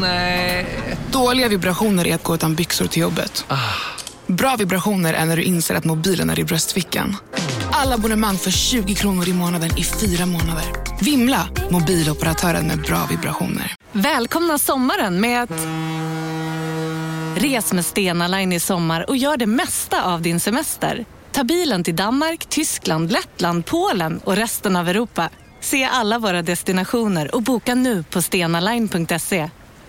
Nej. Dåliga vibrationer är att gå utan byxor till jobbet. Bra vibrationer är när du inser att mobilen är i bröstfickan. Alla abonnemang för 20 kronor i månaden i fyra månader. Vimla! Mobiloperatören med bra vibrationer. Välkomna sommaren med att... Res med Stena Line i sommar och gör det mesta av din semester. Ta bilen till Danmark, Tyskland, Lettland, Polen och resten av Europa. Se alla våra destinationer och boka nu på stenaline.se.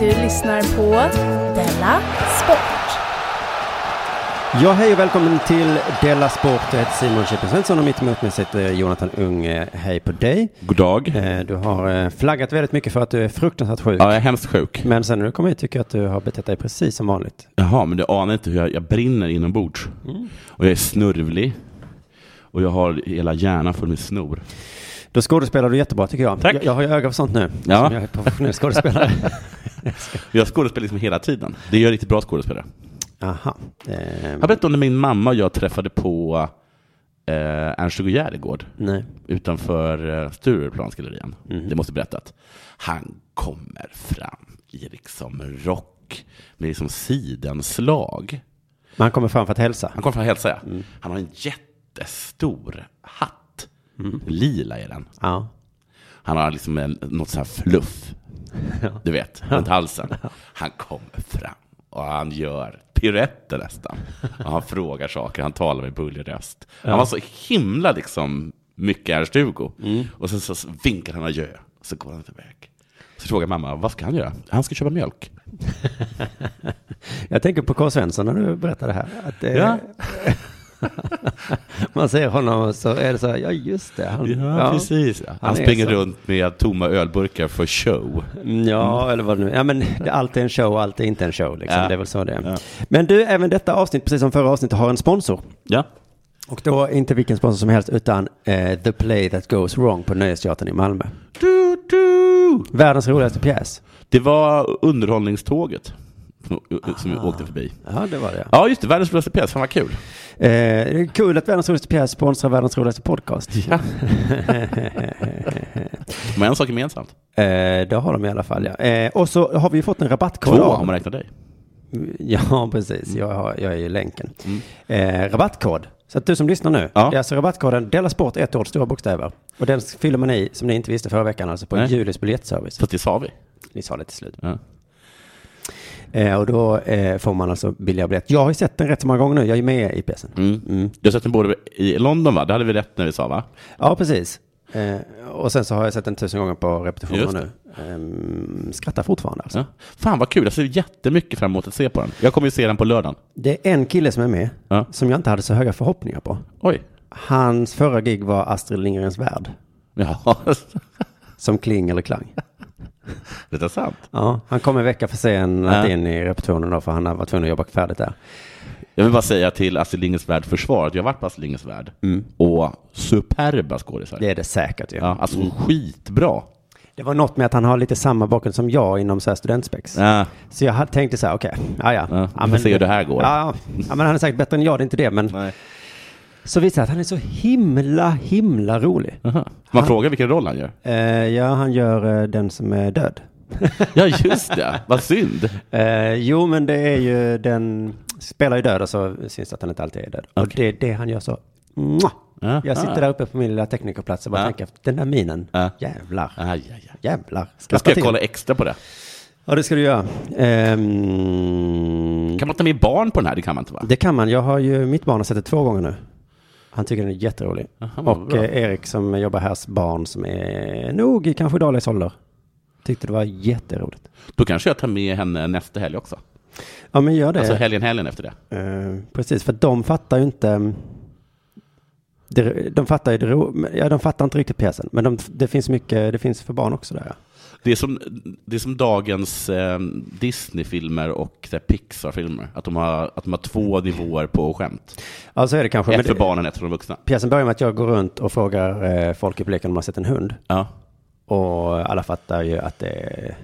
Du lyssnar på Della Sport. Ja, hej och välkommen till Della Sport. Jag heter Simon Chippen Svensson och mitt emot mig sitter Jonathan Unge. Hej på dig. God dag. Eh, Du har eh, flaggat väldigt mycket för att du är fruktansvärt sjuk. Ja, jag är hemskt sjuk. Men sen när du kom hit tycker jag att du har betett dig precis som vanligt. Jaha, men du anar inte hur jag, jag brinner inombords. Mm. Och jag är snurvlig. Och jag har hela hjärnan full med snor. Då skådespelar du jättebra tycker jag. Tack. Jag, jag har ju öga för sånt nu. Ja. Som jag är professionell skådespelare. Jag skådespelar liksom hela tiden. Det gör riktigt bra skådespelare. Aha. Eh, Jag berättade om när min mamma och jag träffade på eh, Ernst Hugo Järegård nej. Mhm. utanför eh, Stureplansgallerian. Det måste jag berättat. Han kommer fram i liksom rock med liksom sidenslag. Men han kommer fram för att hälsa. Han kommer från hälsa, ja. Han har en jättestor hatt. Lila är den. Ja. Han har liksom en, något sånt här fluff. Du vet, runt halsen. Han kommer fram och han gör piruetter nästan. Och han frågar saker, han talar med bullig röst. Han var så himla liksom mycket Ernst Hugo. Och sen så vinkar han adjö, och så går han iväg. Så frågar mamma, vad ska han göra? Han ska köpa mjölk. Jag tänker på K. Svensson när du berättar det här. Att, eh, Ja. Man ser honom och så är det så här, ja just det. Han, Ja, precis. Han, är springer så. runt med tomma ölburkar för show. Ja, eller vad det nu Ja, men det- allt är en show, allt är inte en show. Liksom. Ja. Det är väl så det är. Ja. Men du, även detta avsnitt, precis som förra avsnittet, har en sponsor. Ja. Och då inte vilken sponsor som helst, utan eh, The Play That Goes Wrong på Nöjesteatern i Malmö. Du, du. Världens roligaste pjäs. Det var underhållningståget som, som åkte förbi. Ja, det var det. Ja, just det. Världens roligaste pjäs. Fan vad kul. Eh, det är kul att Världens roligaste pjäs sponsrar Världens roligaste podcast. De har en sak gemensamt. eh, det har de i alla fall, ja. Eh, och så har vi ju fått en rabattkod. Två av- om man räknar dig. Ja, Mm. precis. Jag, har, jag är ju länken. Eh, rabattkod. Så att du som lyssnar nu, Ja. det är alltså rabattkoden Dela Sport, ett ord, stora bokstäver. Och den fyller man i, som ni inte visste förra veckan, alltså på Nej. Julis biljettservice. Fast det sa vi. Ni sa det till slut. Ja. Eh, och då eh, får man alltså billigare biljett. Jag har ju sett den rätt så många gånger nu, jag är med i pjäsen. Mm. Du har sett den både i London, va? Det hade vi rätt när vi sa, va? Ja, precis. Eh, och sen så har jag sett den tusen gånger på repetitioner Just nu. det. Ehm, skrattar fortfarande alltså. Ja. Fan vad kul. Jag ser jättemycket fram emot att se på den. Jag kommer ju se den på lördagen. Det är en kille som är med, Ja. som jag inte hade så höga förhoppningar på. Oj. Hans förra gig var Astrid Lindgrens Värld, Ja, som Kling eller Klang. det är sant. Ja, han kom en vecka för sen Ja. in i repetitionen då, för han var tvungen att jobba färdigt där. Jag vill bara säga till Astrid Lindgrens Värld försvar att jag har varit på Astrid Lindgrens Värld. Och superba skådisar. Det är det säkert ju. Ja, alltså skitbra. Det var något med att han har lite samma bakgrund som jag inom så här studentspex. Ja. Så jag hade- tänkte så här, okej, ja ja. Ja, vi får se hur det här går. Ja, ja. ja, men han är säkert bättre än jag, det är inte det, men Nej. så visar det sig att han är så himla, himla rolig. Aha. Man frågar vilken roll han gör. Eh, ja, han gör eh, den som är död. Ja, just det. Vad synd. Eh, jo, men det är ju den, spelar ju död och så syns det att han inte alltid är död. Och det är det han gör så, Mwah! Aha. Jag sitter där uppe på min lilla teknikerplats och bara Ja. tänker, den där minen, Ja. jävlar. Aj, aj, aj. Jävlar. Jag ska jag kolla extra på det. Ja, det ska du göra. Ehm, Kan man ta med barn på den här? Det kan man inte va? det kan man. Jag har ju mitt barn har sett det två gånger nu. Han tycker den är jätterolig. Aha, vad och bra. eh, Erik som jobbar härs barn som är nog i kanske Dahlias ålder. Tyckte det var jätteroligt. Då kanske jag tar med henne nästa helg också. Ja, men gör det. Alltså helgen, helgen efter det. Eh, precis, för de fattar ju inte. mm, det- De fattar ju det ro, men- ja, de fattar inte riktigt pjäsen. Men de, det finns mycket, det finns för barn också där. Ja. Det är som, det är som dagens eh, Disney-filmer och så här, Pixar-filmer. Att de, har, att de har två nivåer på skämt. ja, så är det kanske. Ett för det- barnen, ett för de vuxna. Pjäsen börjar med att jag går runt och frågar eh, folk i publiken om de har sett en hund. Ja. Och alla fattar ju att det är,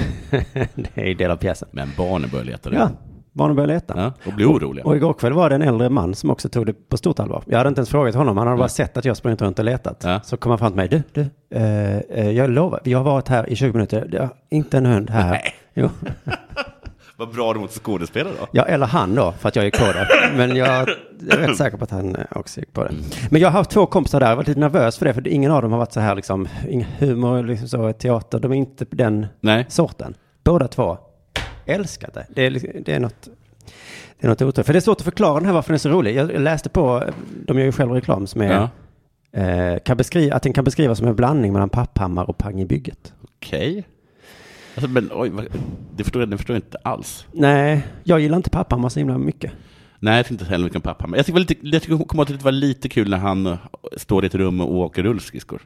det är ju del av pjäsen. Men barnen börjar leta Ja, redan. barnen börjar leta. Ja, och blir oroliga. Och igår kväll var det en äldre man som också tog det på stort allvar. Jag hade inte ens frågat honom, han hade bara sett att jag sprungit runt och letat. Ja. Så kom han fram till mig, du, du, eh, eh, jag lovar, jag har varit här i 20 minuter, det är inte en hund här. Nej. Jo. Vad bra du mot skådespelare då. Ja, eller han då, för att jag gick på det. Men jag, jag är rätt säker på att han eh, också gick på Mm. det. Men jag har haft två kompisar där, jag har varit lite nervös för det, för ingen av dem har varit så här liksom, ingen humor, liksom så, teater, de är inte den Nej. sorten. Båda två älskar det. Det är, liksom- det är något... Det är något otroligt. För det är svårt att förklara den här varför den är så rolig. Jag läste på, de gör ju själva reklam som är, Ja. eh, kan beskriva, att den kan beskrivas som en blandning mellan Papphammar och Pang i bygget. Okej. Alltså, men oj, vad- det förstår jag, det förstår jag inte alls. Nej, jag gillar inte Papphammar så himla mycket. Nej, jag tyckte inte heller mycket om pappa. Men jag tycker, det var lite, jag tycker, jag kommer ihåg att det var lite kul när han eh, står i ett rum och åker rullskridskor.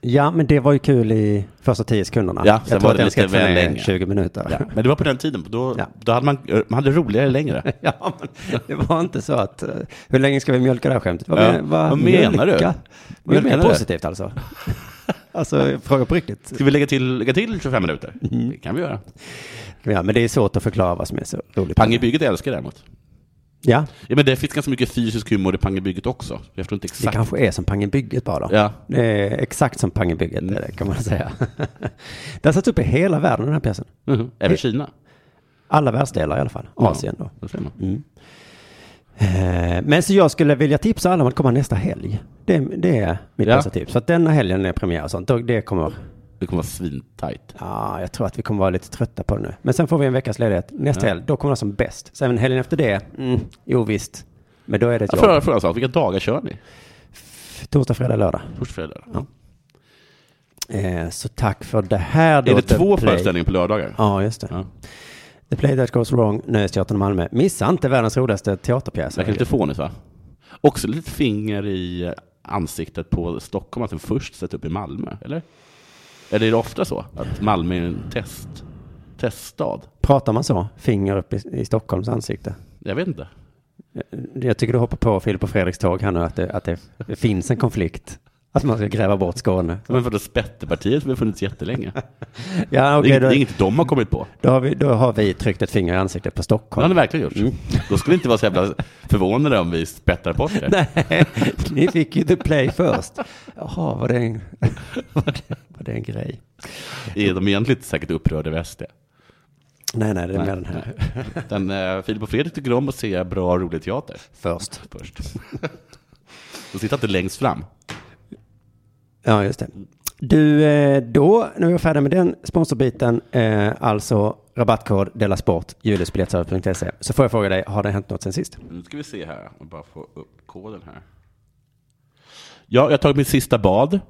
Ja, men det var ju kul i första tio sekunderna. Ja, sen jag var tror att det den ska lite väl väl länge. 20 minuter. Ja. Men det var på den tiden, då, Ja. då hade man, eh, man hade roligare längre. Ja, men det var inte så att, eh, hur länge ska vi mjölka det här skämtet? Vad, Ja. men- Vad menar mjölka? Vad Mjölka menar du? positivt alltså. alltså, fråga på riktigt. Ska vi lägga till, lägga till 25 minuter? Det kan vi göra. Ja, men det är svårt att förklara vad som är så roligt. Pang i bygget älskar jag däremot. Ja, Ja, men det finns ganska mycket fysisk humor i Pang i bygget också. Jag förstår inte det exakt. kanske är som Pang i bygget bara. Ja. Mm. Det är exakt som Pang i bygget, är det, kan man säga. Den satt upp i hela världen, den här pjäsen. Mhm. Även Kina. Alla världsdelar i alla fall. Ja. Mm. Asien då. Då ser man. Eh, Men så jag skulle vilja tipsa alla om att komma nästa helg. Det, det är mitt Ja. bästa tips. Så att denna helgen är premiär och sånt. Då- Det kommer, Det kommer vara svintajt. ja, jag tror att vi kommer vara lite trötta på det nu. Men sen får vi en veckas ledighet. Nästa helg, då kommer det som bäst. Sen helgen efter det, mm, jo visst. Men då är det ett Jag frågar jobb. frågar en sak, vilka dagar kör ni? Torsdag, fredag, lördag. Torsdag, fredag? Eh, så tack för det här då. Är det The två Play. föreställningar på lördagar? Ja, just det. Ja. The Play That Goes Wrong, Nöjesteatern i Malmö. Missa inte världens roligaste teaterpjäs. Verkar lite fånigt va? Också lite finger i ansiktet på Stockholm att den först sätts upp i Malmö, eller? Eller är det ofta så? Att Malmö är en test, teststad? Pratar man så? Finger upp i, i Stockholms ansikte. Jag vet inte. Jag tycker du hoppar på Filip och Fredriks tåg här nu, att det, att det finns en konflikt. Att man ska gräva bort Skåne. Men vadå, Spettepartiet har funnits jättelänge. Ja, det är okej, inget- det är då, inget de har kommit på. då, har vi, då har vi tryckt ett finger i ansiktet på Det har Stockholm. de verkligen gjort. Mm. Då skulle vi inte vara så jävla förvånade om vi spettar bort det. Nej, ni fick ju The Play först. Jaha, var det en, var det, var det en grej? Är de egentligen inte säkert upprörda över SD? Nej, nej, det är mer den här Den, eh, Filip och Fredrik tycker om att se bra, rolig teater först. först. De sitter inte längst fram. Ja, just det. Du, eh, då, när vi var färdiga med den sponsorbiten, eh, alltså rabattkod Della Sport, julisbiljettservice.se, så får jag fråga dig, har det hänt något sen sist? Nu ska vi se här, och bara få upp koden här. Ja, jag har tagit mitt sista bad.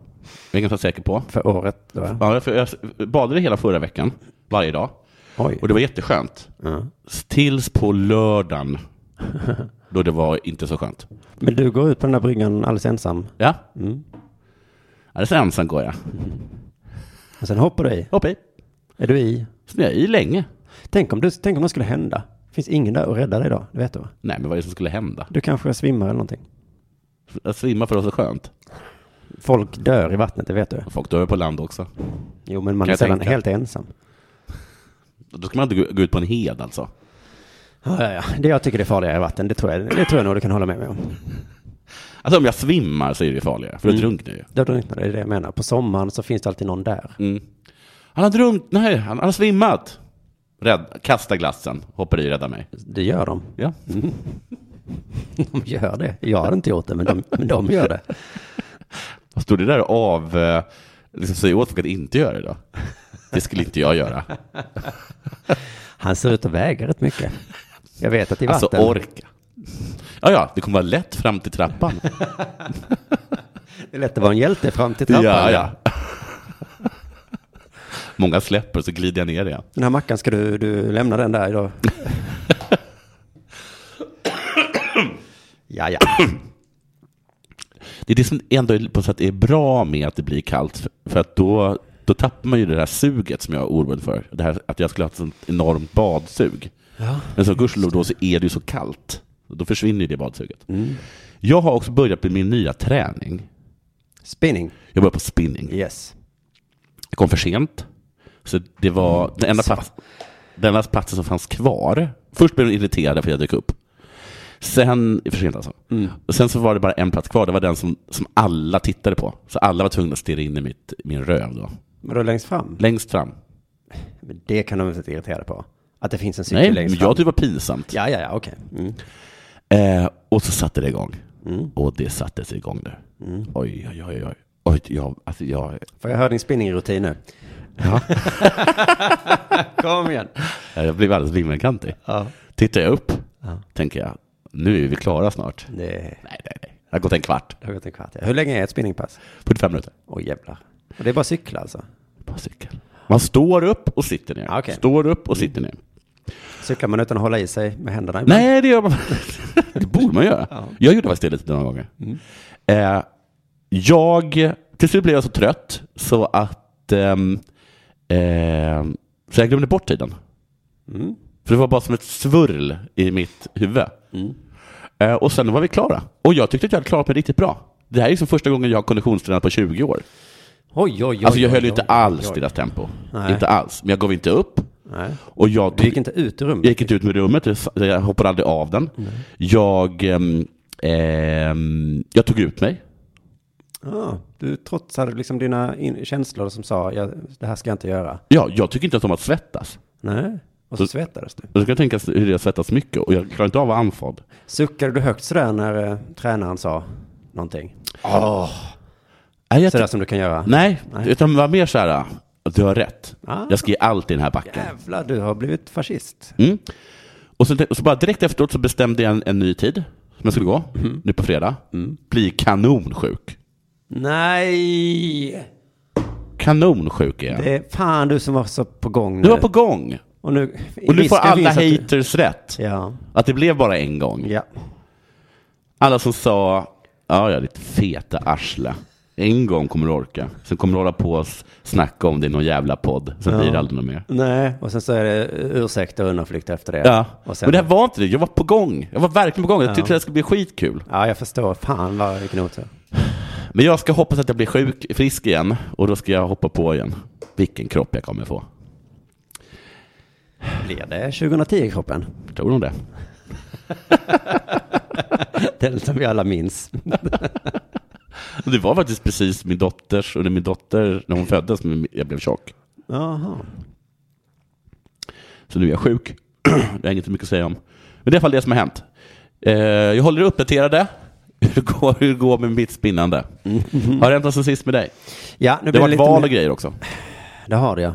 Jag är ganska säker på. För året? Då, ja. Ja, för jag badade hela förra veckan, varje dag. Oj. Och det var jätteskönt. Tills på lördagen, då det var inte så skönt. Men du går ut på den där bryggan alldeles ensam, Ja. Alldeles ensam går jag. och sen hoppar du i. Hopp i. Är du i? Så är jag i länge. Tänk om, du, tänk om något skulle hända. finns ingen där och rädda dig då, det vet du va? Nej, men vad är det som skulle hända? Du kanske svimmar eller någonting. Att svimma för oss är skönt. Folk dör i vattnet, det vet du. Folk dör på land också. Jo, men man Kan är jag sällan tänka. helt ensam. Då ska man inte gå- gå ut på en hed alltså. Ja, ja, ja. Det jag tycker det är farligare i vatten, det tror jag, det tror jag nog du kan hålla med mig om. Alltså om jag svimmar så är det ju farligare, för då drunknar jag ju. Då drunknar du, det är det jag menar. På sommaren så finns det alltid någon där. Han har drunknat, nej, han han har svimmat. Rädd, kasta glassen, hoppar i, rädda mig. Det gör de. Ja. De gör det. Jag hade inte gjort det, men de, men de gör det. Vad stod det där av, eh, liksom säga åt folk att inte göra det då? Det skulle inte jag göra. Han ser ut att väga rätt mycket. Jag vet att i Alltså vatten... orka. Ja, ja, det kommer vara lätt fram till trappan. Det är lätt att vara en hjälte fram till trappan. Ja, ja. Många släpper, så glider jag ner igen. Den här mackan, ska du, du lämna den där idag? ja, ja. Det är det som ändå på sätt är bra med att det blir kallt, för- för att då, då tappar man ju det där suget som jag är orolig för. Det här, att jag skulle ha ett sånt enormt badsug. Men så gudskelov då så är det ju så kallt. Då försvinner ju det badsuget. Jag har också börjat med min nya träning. Spinning. Jag börjar på spinning. Yes. Jag kom för sent. Så det var Mm. den enda, plats, den enda platsen som fanns kvar. Först blev de irriterade för att jag dök upp. Sen, för sent alltså. Mm. Och sen så var det bara en plats kvar. Det var den som, som alla tittade på. Så alla var tvungna att stirra in i mitt, min röv då. Men då längst fram? Längst fram. Men Det kan de inte vara irriterade på. Att det finns en cykel Nej, men längst fram. jag tyckte det var pinsamt. Ja, ja, ja, okej. Mm. Eh, och så satte det igång. Och det sattes igång nu. Mm. Oj, oj, oj, oj. Oj, jag, alltså jag, Får jag höra din spinningrutin nu? Ja. Kom igen. jag blev alldeles vimmelkantig. Ja. Tittar jag upp, tänker jag, nu är vi klara snart. Det Nej, nej, nej. Det har gått en kvart. det har gått en kvart. ja. Hur länge är ett spinningpass? 45 minuter. Åh jävlar. Och det är bara cykla alltså? På cykel. Man står upp och sitter ner. Ah, okej. Står upp och sitter ner. Cyklar man utan att hålla i sig med händerna? ibland? Nej, det gör man Det borde man göra. Jag gjorde faktiskt det lite några gånger. Mm. Eh, jag, till slut blev jag så trött så att ehm, ehm, så jag glömde bort tiden. Mm. För det var bara som ett svurl i mitt huvud. Mm. Eh, och sen var vi klara. Och jag tyckte att jag hade klarat mig riktigt bra. Det här är liksom första gången jag har konditionstränat på 20 år. Oj, oj, oj. Alltså jag oj, höll ju oj, inte oj, alls oj. deras tempo. Nej. Inte alls. Men jag gav inte upp. Nej. Och jag, Du gick inte ut ur rummet? jag gick inte ut med rummet, jag hoppade aldrig av den. Jag, ehm, ehm, jag tog ut mig. Ja, du trotsade liksom dina in- känslor som sa, ja, det här ska jag inte göra. Ja, jag tycker inte ens om att svettas. Nej. Och så svettades du. Jag ska jag tänka hur det är att svettas mycket och jag klarar inte av att vara andfådd. Suckade du högt sådär när eh, tränaren sa någonting? Nej, jag Sådär som du kan göra? nej, utan det var mer så här, du har rätt. Ah. Jag ska ge allt i den här backen. Jävlar, du har blivit fascist. Mm. Och, så, och så bara direkt efteråt så bestämde jag en, en ny tid som jag skulle gå, Mm. nu på fredag. Bli kanonsjuk. Nej! Kanonsjuk är jag. Det är fan du som var så på gång nu. Du var på gång. Och nu, Och nu får risken alla finns att du- haters rätt. Ja. Att det blev bara en gång. Ja. Alla som sa, ja ja ditt feta arsle. En gång kommer du orka. Sen kommer du hålla på och s- snacka om det i någon jävla podd. Sen blir det aldrig något mer. Nej, och sen så är det ursäkter och undanflykt efter det. Ja. Och sen, Men det här var inte det. Jag var på gång. Jag var verkligen på gång. Jag tyckte det här skulle bli skitkul. Ja, jag förstår. Fan vad vilken otur. Men jag ska hoppas att jag blir sjuk, frisk igen. Och då ska jag hoppa på igen. Vilken kropp jag kommer få. Blir det 2010-kroppen? Tror du det? Den som vi alla minns. Och Det var faktiskt precis min dotters, under min dotter, när hon föddes, men jag blev tjock. Jaha. Så nu är jag sjuk. det är inget mycket att säga om. Men det är i alla fall det som har hänt. Eh, jag håller er uppdaterade. Hur det går, hur det går med mitt spinnande? Har det hänt något sen sist med dig? Ja, nu Mm-hmm. Det blir har varit lite val mer- och grejer också. Det har det, ja.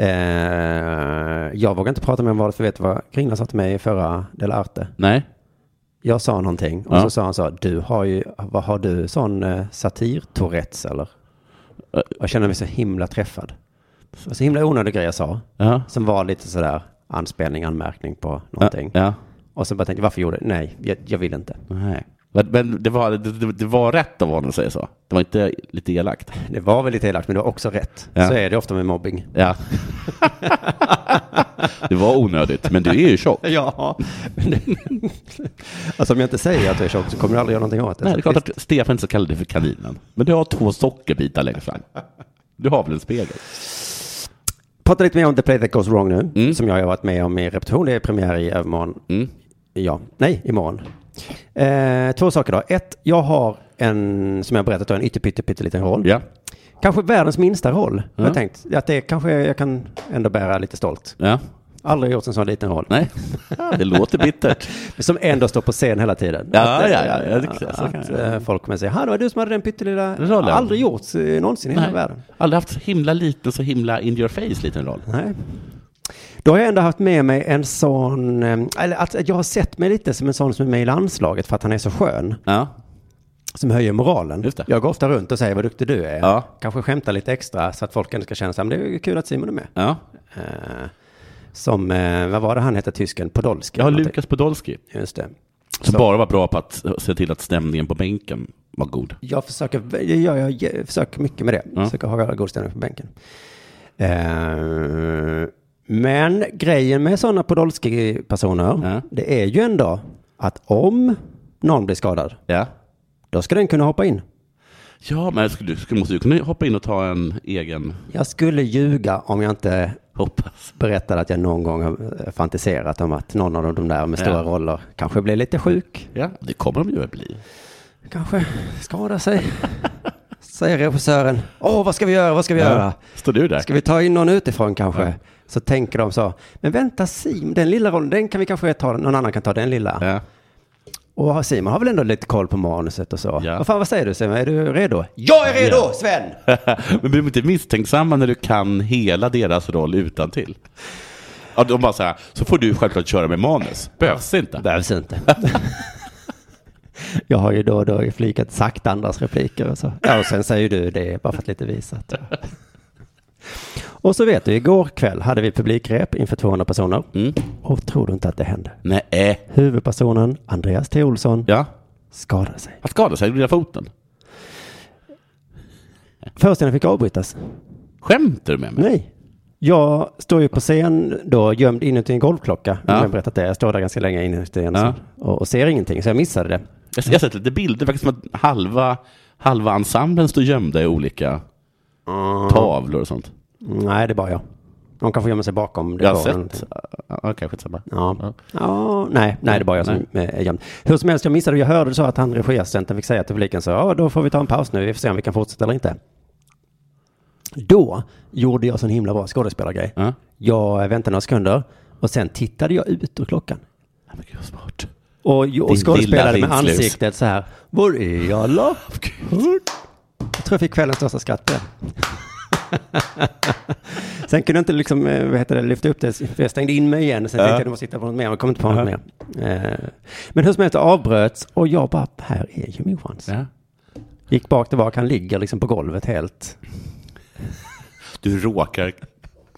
Eh, jag vågar inte prata mer om valet, för vet du vad Kringlan sa till mig i förra Dela Arte? Nej? Jag sa någonting och Ja. så sa han så, du har ju, vad har du sån eh, satir-tourettes eller? Eh. Jag känner mig så himla träffad. Det var så himla onödig grej jag sa, Ja. som var lite sådär anspelning, anmärkning på någonting. Ja. Och så bara tänkte jag, varför gjorde jag det? Nej, jag, jag vill inte. Nej. Men- Men det var, det, det- det var rätt av honom att säga så. Det var inte lite elakt. Det var väl lite elakt, men det var också rätt. Ja. Så är det ofta med mobbing. Ja. det var onödigt, men du är ju tjock. Ja. alltså om jag inte säger att jag är tjock så kommer jag aldrig göra någonting åt det. Nej, det är Så klart visst. att Stefan inte så kallade dig för kaninen. Men du har två sockerbitar längre fram. Du har väl en spegel? Prata lite mer om The Play That Goes Wrong nu, som jag har varit med om i repetition. Det är premiär i övermorgon. Ja, nej, imorgon. Eh, två saker då. Ett, jag har en, som jag berättat, då, en ytterpytteliten roll. Ja. Kanske världens minsta roll. har Ja. Jag tänkt att det kanske jag kan ändå bära lite stolt. Ja. Aldrig gjort en sån liten roll. Nej, det låter bittert. Som ändå står på scen hela tiden. Ja, eh, ja, ja, ja, det- så kan att, jag. eh, folk kommer säga, "Ha, det var du som hade den pyttelilla Rollen. Aldrig gjorts eh, någonsin i hela världen. Aldrig haft så himla liten, så himla in your face liten roll. Nej. Då har jag ändå haft med mig en sån, eh, eller att jag har sett mig lite som en sån som är med i landslaget för att han är så skön. Ja. som höjer moralen. Just det. Jag går ofta runt och säger vad duktig du är. Ja. Kanske skämtar lite extra så att folk ändå ska känna sig, men det är ju kul att Simon är med. Ja. Eh, som, eh, vad var det han hette, tysken? Podolski? Jag har Någonting. Lukas Podolski, Just det. som bara var bra på att se till att stämningen på bänken var god. Jag försöker, jag, jag, jag försöker mycket med det. Ja. Försöker ha god ställning på bänken. Eh, men grejen med sådana Podolski-personer, Ja. det är ju ändå att om någon blir skadad, Ja, då ska den kunna hoppa in. ja men skulle, skulle, måste du kunna hoppa in och ta en egen Jag skulle ljuga om jag inte hoppas? berättade att jag någon gång har eh, fantiserat om att någon av de där med stora Ja. roller kanske blir lite sjuk, Ja, det kommer de ju att bli. kanske skadar sig. Säger regissören, åh vad ska vi göra, vad ska vi göra? Står du där? Ska vi ta in någon utifrån kanske? Ja. Så tänker de så. Men vänta Simon, den lilla rollen, den kan vi kanske ta, någon annan kan ta den lilla. Ja. Och Simon har väl ändå lite koll på manuset och så. Ja. Vad fan, vad säger du Simon, är du redo? Jag är redo, Ja. Sven! Men blir de inte misstänksamma när du kan hela deras roll utan till? Ja, de bara så här, så får du självklart köra med manus. Behövs inte. Behövs inte. Jag har ju då och då i flikat sagt andras repliker och så. Ja, och sen säger du det bara för att lite visa att jag... Och så vet du, igår kväll hade vi publikrep inför 200 personer. Mm. Och tror du inte att det hände? Nej, äh. Huvudpersonen, Andreas T. Olsson, ja. skadade sig. Han skadade sig i lilla foten. Föreställningen fick avbrytas. Skämtar du med mig? Nej. Jag står ju på scen då gömd inuti en golvklocka. Ja. Jag har berättat det. Jag står där ganska länge inuti en Ja. och, och ser ingenting, så jag missade det. Jag jag har sett lite bilder, det verkar som att halva, halva ensemblen står gömda i olika Ah. tavlor och sånt. Nej, det är bara jag. De kanske gömmer sig bakom. Det Jag har var sett. någonting. Ja, okej, skitsamma. Ja. ja, nej, nej, det är bara jag som eh, är gömd. Hur som helst, jag missade och jag hörde så att han regiassistenten fick säga till publiken så, ja, då får vi ta en paus nu, vi får se om vi kan fortsätta eller inte. Då gjorde jag sån himla bra skådespelargrej. Ja. Jag eh, väntade några sekunder och sen tittade jag ut ur klockan. Ja, men gud vad smart. Och, och Din skådespelade lilla med ringslus. ansiktet så här. Var är alla? Jag tror jag fick kvällens största skratt där. Sen kunde jag inte liksom, eh, vad heter det, lyfta upp det, för jag stängde in mig igen. Sen tänkte jag att jag måste hitta på något mer, och kom inte på något mer. Eh, Men hur som helst, det avbröts och jag bara, här är ju min chans. Ja. Gick bak tillbaka, han ligger liksom på golvet helt. Du råkar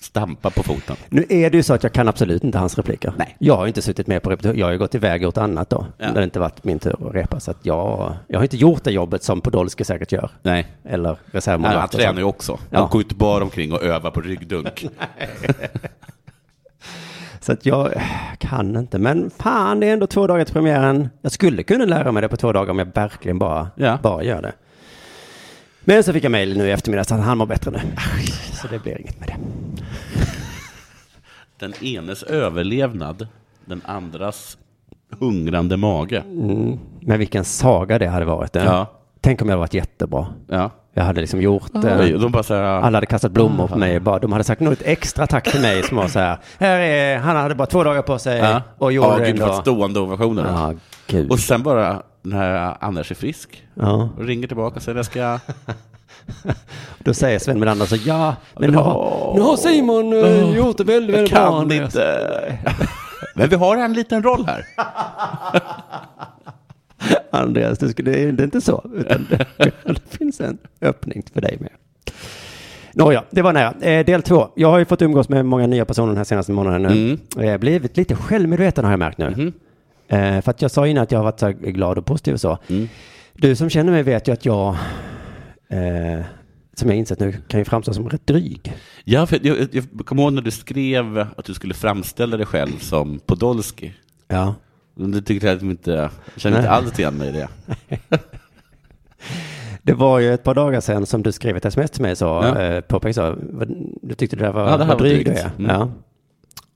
stampa på foten. Nu är det ju så att jag kan absolut inte hans repliker. Nej. Jag har ju inte suttit med på repetition. Jag har ju gått iväg och gjort annat då. Ja. När det inte varit min tur att repa. Så att jag, jag har inte gjort det jobbet som Podolsky säkert gör. Nej. Eller Nej, han reservmålvakt. och tränar ju sånt. också. Han Ja. går ju inte bara omkring och övar på ryggdunk. Så att jag eh, kan inte. Men fan, det är ändå två dagar till premiären. Jag skulle kunna lära mig det på två dagar om jag verkligen bara, Ja. bara gör det. Men så fick jag mejl nu i eftermiddag så att han mår bättre nu. Så det blir inget med det. Den enes överlevnad, den andras hungrande mage. Men vilken saga det hade varit. eh. Ja. Tänk om jag hade varit jättebra. Ja. Jag hade liksom gjort det. Oj, de bara så här, Alla hade kastat blommor på mig. Bara, de hade sagt något extra tack till mig som var så här. här är, han hade bara två dagar på sig ja. och gjorde Ja, det gud, Eh, vad ändå. stående ovationer. Ja, gud. Och sen bara när Anders är frisk Ja. och ringer tillbaka och säger jag ska... Då säger Sven Melander så ja, men nu har, Åh. nu har Simon eh, Åh. gjort det väldigt, Jag väldigt bra. kan Andreas. inte. Men vi har en liten roll här. Andreas, du skulle, det är det är inte så, utan det, det finns en öppning för dig med. Nåja, det var nära. Eh, del två. Jag har ju fått umgås med många nya personer den här senaste månaden nu. Mm. Och Jag har blivit lite självmedveten har jag märkt nu. Eh, för att jag sa innan att jag har varit så här glad och positiv och så. Du som känner mig vet ju att jag, eh, som jag insett nu, kan ju framstå som rätt dryg. Ja, för jag, jag kommer ihåg när du skrev att du skulle framställa dig själv som Podolski. Ja. Du tyckte jag inte, jag känner inte Nej. alls igen mig i det. Det var ju ett par dagar sedan som du skrev ett sms till mig så, Ja. eh, påpekade så, vad- du tyckte det där var, Ja, det här vad var dryg du drygt. är. Mm. Ja.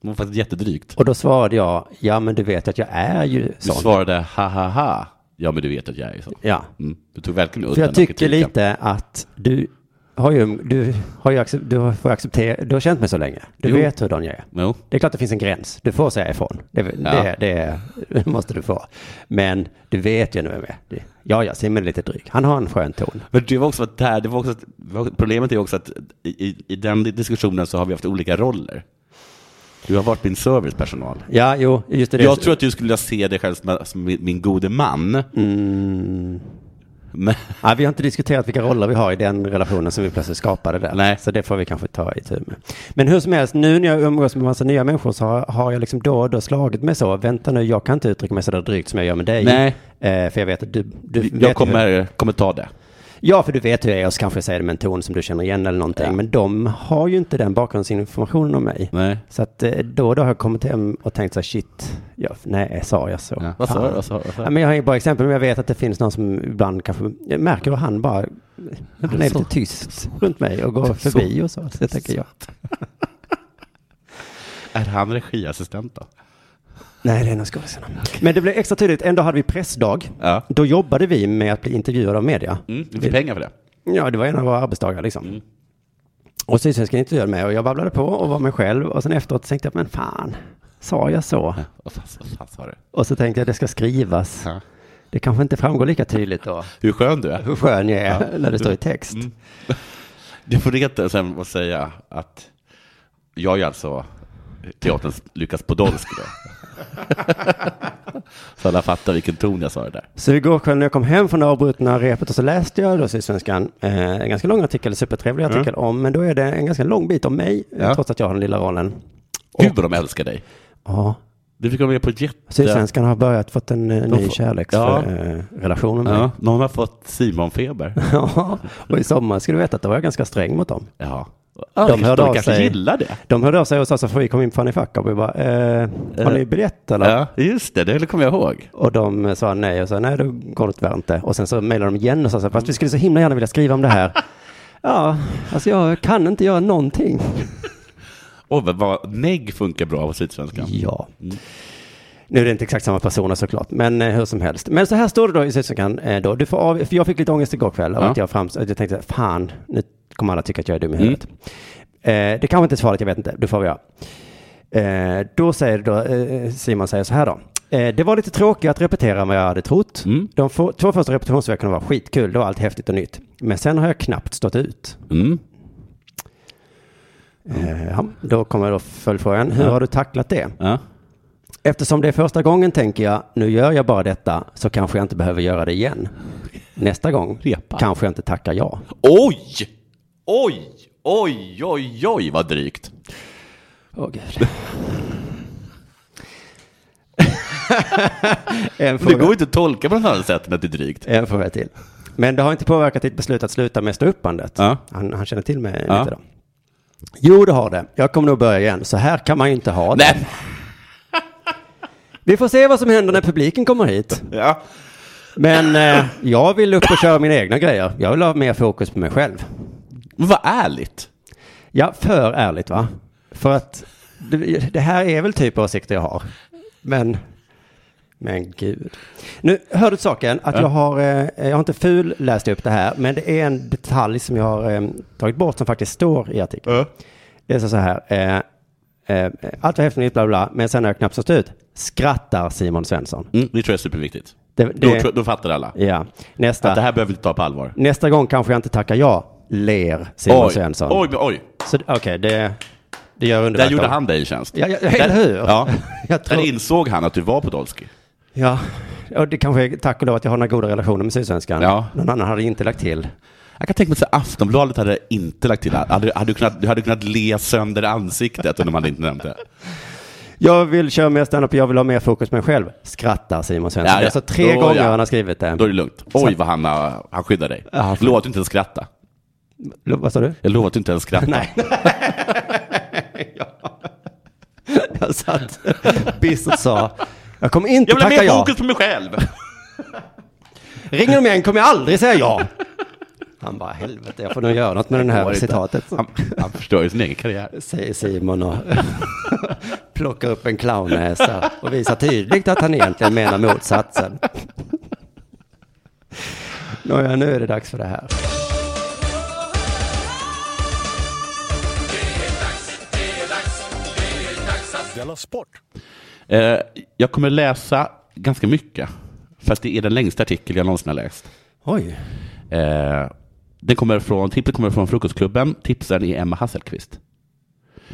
Det var faktiskt jättedrygt. Och då svarade jag, ja men du vet att jag är ju Du sån. svarade ha ha ha. Ja, men du vet att jag är så. Ja. Mm. Du tog verkligen För udden av jag tycker kritiken. lite att du har ju, du har ju accep- du får acceptera, du har känt mig så länge. Du Jo. vet hurdan jag är. Jo. Det är klart det finns en gräns. Du får säga ifrån. Det, Ja. det, det, måste du få. Men du vet ju nu med. Det- Ja, ja, Simon är lite dryg. Han har en skön ton. Men det var också att där, det var också att, det var- problemet är också att i, i- i den diskussionen så har vi haft olika roller. Du har varit min servicepersonal. Ja, jo, just det. Mm. Jag tror att du skulle vilja se dig själv som, som min, min gode man. Men, Nej, vi har inte diskuterat vilka roller vi har i den relationen som vi plötsligt skapade där. Nej. Så det får vi kanske ta i tur med. Men hur som helst, nu när jag umgås med massa nya människor så har, har jag liksom då och då slagit mig så. Vänta nu, jag kan inte uttrycka mig så där drygt som jag gör med dig. Nej. Eh, för jag vet att du... du vet ju jag kommer, kommer ta det. Hur, ja, för du vet hur jag är och så kanske jag säger det med en ton som du känner igen eller någonting. Ja. Men de har ju inte den bakgrundsinformationen om mig. Nej. Så att eh, då och då har jag kommit hem och tänkt så här, shit, ja, nej, sa jag så? Ja. Vad sa Fan. du? Vad sa du? Vad sa Ja, du? men jag har inget bra exempel, men jag vet att det finns någon som ibland kanske jag märker hur han bara, han är så- lite tyst runt mig och går förbi och så. Så tänker jag, Är han regiassistent då? nej det är nog skådisarna. Men det blev extra tydligt, en dag hade vi pressdag. Ja. Då jobbade vi med att bli intervjuade av media. Mm, vi fick pengar för det. Ja, det var en av våra arbetsdagar liksom. Och Sydsvenskan intervjuade mig och jag babblade på och var mig själv och sen efteråt tänkte jag, men fan, sa jag så? Ja, Vad fan, vad fan sa du? Och så tänkte jag, det ska skrivas. Ja. Det kanske inte framgår lika tydligt då. Hur skön du är. Hur skön jag är när det står i text. Mm. Jag får reta sen och säga att jag är alltså teaterns Lukas Podolsky då. Så alla fattar vilken ton jag sa det där. Så igår kväll när jag kom hem från det avbrutna repet och så läste jag då Sydsvenskan eh, en ganska lång artikel, supertrevlig artikel om, men då är det en ganska lång bit om mig, eh, Ja. trots att jag har den lilla rollen. Gud vad de älskar dig. Ja, Du fick vara med på ett jätte... Sydsvenskan har börjat fått en eh, ny får- Ja. kärleksrelation med mig. Ja, någon har fått Simon-feber. Ja, och i sommar ska du veta att då var jag ganska sträng mot dem. Ja. de hörde av de kanske sig. gillar det. De hörde av sig och sa så får vi komma in på Fanny Fuck Up? och vi bara, eh, har ni biljett eller? Ja, just det, det kommer jag ihåg. Och de eh, sa nej och sa nej, då går det tyvärr inte. Och sen så mejlade de igen och sa så här, fast vi skulle så himla gärna vilja skriva om det här. Ja, alltså jag kan inte göra någonting. Och vad- vad negg funkar bra på Sydsvenskan. Ja. Nu är det inte exakt samma personer såklart, men eh, hur som helst. Men så här står det då i Sydsvenskan eh, då. Du får av, för jag fick lite ångest igår kväll av Ja. Mm. att jag, frams, att jag tänkte, fan, nu kommer alla tycka att jag är dum i huvudet. Eh, det kanske inte är svaret, jag vet inte. Du får jag. Eh, då säger då, eh, Simon säger så här då. Eh, det var lite tråkigt att repetera än vad jag hade trott. Mm. De få, två första repetitionsveckorna var skitkul, det var allt häftigt och nytt. Men sen har jag knappt stått ut. Mm. Eh, ja, då kommer då följdfrågan, hur Ja. har du tacklat det? Ja. Eftersom det är första gången tänker jag, nu gör jag bara detta, så kanske jag inte behöver göra det igen. Nästa gång Repa. kanske jag inte tackar ja. Oj! Oj! Oj, oj, oj, vad drygt. Åh gud. en, Det går fråga, inte att tolka på något annat sätt än att det är drygt. en fråga till. Men det har inte påverkat ditt beslut att sluta med ståuppandet? Ja. Han, han känner till mig Ja. lite då. Jo, det har det. Jag kommer nog börja igen. Så här kan man ju inte ha det. Nej! Vi får se vad som händer när publiken kommer hit. Ja. Men eh, jag vill upp och köra mina egna grejer. Jag vill ha mer fokus på mig själv. Men vad ärligt. Ja, för ärligt va? För att det, det här är väl typ av åsikter jag har. Men, men gud. Nu hör du till saken att jag har, eh, jag har inte ful läst upp det här, men det är en detalj som jag har eh, tagit bort som faktiskt står i artikeln. Det är så så här, eh, eh, allt var häftigt och nytt, bla bla, bla, men sen har jag knappt stått ut. Skrattar Simon Svensson. Mm, det tror jag är superviktigt. Det, Då, det, tror- då fattar alla. ja, Att det nästa, här behöver vi inte ta på allvar. nästa gång kanske jag inte tackar ja, ler Simon Oj, oj, Svensson. oj. oj. Så Okej, det, det gör underverk. Där gjorde då. han dig en tjänst. Ja, ja, ja, eller hur? Ja. Jag tror- Där insåg han att du var Podolsky. Ja, och det kanske är tack och lov att jag har några goda relationer med Sydsvenskan. Ja. Någon annan hade inte lagt till. Jag kan tänka mig att Aftonbladet hade inte lagt till det. Hade, hade du, kunnat, du hade kunnat le sönder ansiktet om de hade inte nämnt det. Jag vill köra mer standup och jag vill ha mer fokus på mig själv. Skrattar Simon Svensson. Ja, Det är ja. alltså tre Då, gånger ja. han har skrivit det. Då är det lugnt. Oj, vad han, har- han skyddar dig. Ja, Lova att du inte ens skratta. Lo- Vad sa du? Jag lovar att du inte ens skrattar. Nej. Ja. jag satt bistert och sa. Jag kommer inte Jag vill ha tacka mer ja. fokus på mig själv. Ringer de igen kommer jag aldrig säga ja. Han bara helvete, jag får nog göra något med det Det går här inte. citatet. Han, han förstör ju sin egen karriär. säger Simon och plockar upp en clownnäsa och visar tydligt att han egentligen menar motsatsen. Nåja, nu är det dags för det här. Della Sport! Eh, jag kommer läsa ganska mycket. Fast det är den längsta artikel jag någonsin har läst. Oj, Eh, den kommer från, tippet kommer från Frukostklubben. Tipsaren är Emma Hasselqvist.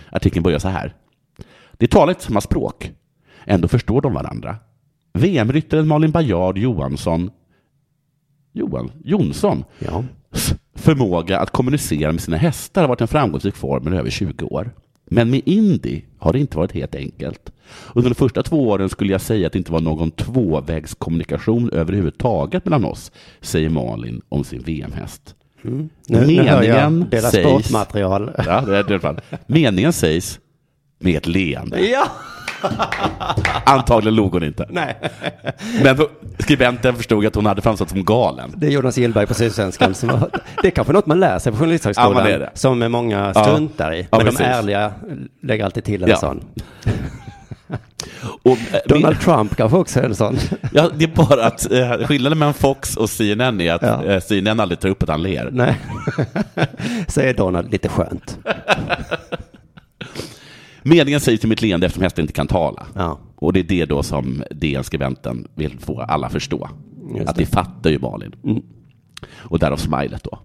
Artikeln börjar så här. Det talar inte samma språk. Ändå förstår de varandra. VM-ryttaren Malin Bajard Johansson Johan Jonsson Ja. förmåga att kommunicera med sina hästar har varit en framgångsrik formel i över 20 år. Men med Indy har det inte varit helt enkelt. Under de första två åren skulle jag säga att det inte var någon tvåvägskommunikation överhuvudtaget mellan oss, säger Malin om sin VM-häst. Mm. Nu, nu hör jag Meningen dela sägs- sportmaterial. Ja, det är det i alla fall. Meningen sägs med ett leende. Ja! Antagligen log hon inte. Nej. Men skribenten förstod att hon hade framstått som galen. Det är Jonas Gillberg på Sydsvenskan. Som har, det är kanske något man lär sig på Ja, Journalisthögskolan. men det är det. Som många struntar i. Ja, men de precis. ärliga lägger alltid till en Ja. sån. Och, eh, Donald Trump kanske också är en sån. Ja, det är bara att eh, skillnaden mellan Fox och CNN är att Ja. eh, CNN aldrig tar upp att han ler. Nej. Säger Donald lite skönt. Meningen säger till mitt leende eftersom hästen inte kan tala. Ja. Och det är det då som DN-skribenten vill få alla förstå. Just Mm. att det fattar ju Malin. Och därav smilet då.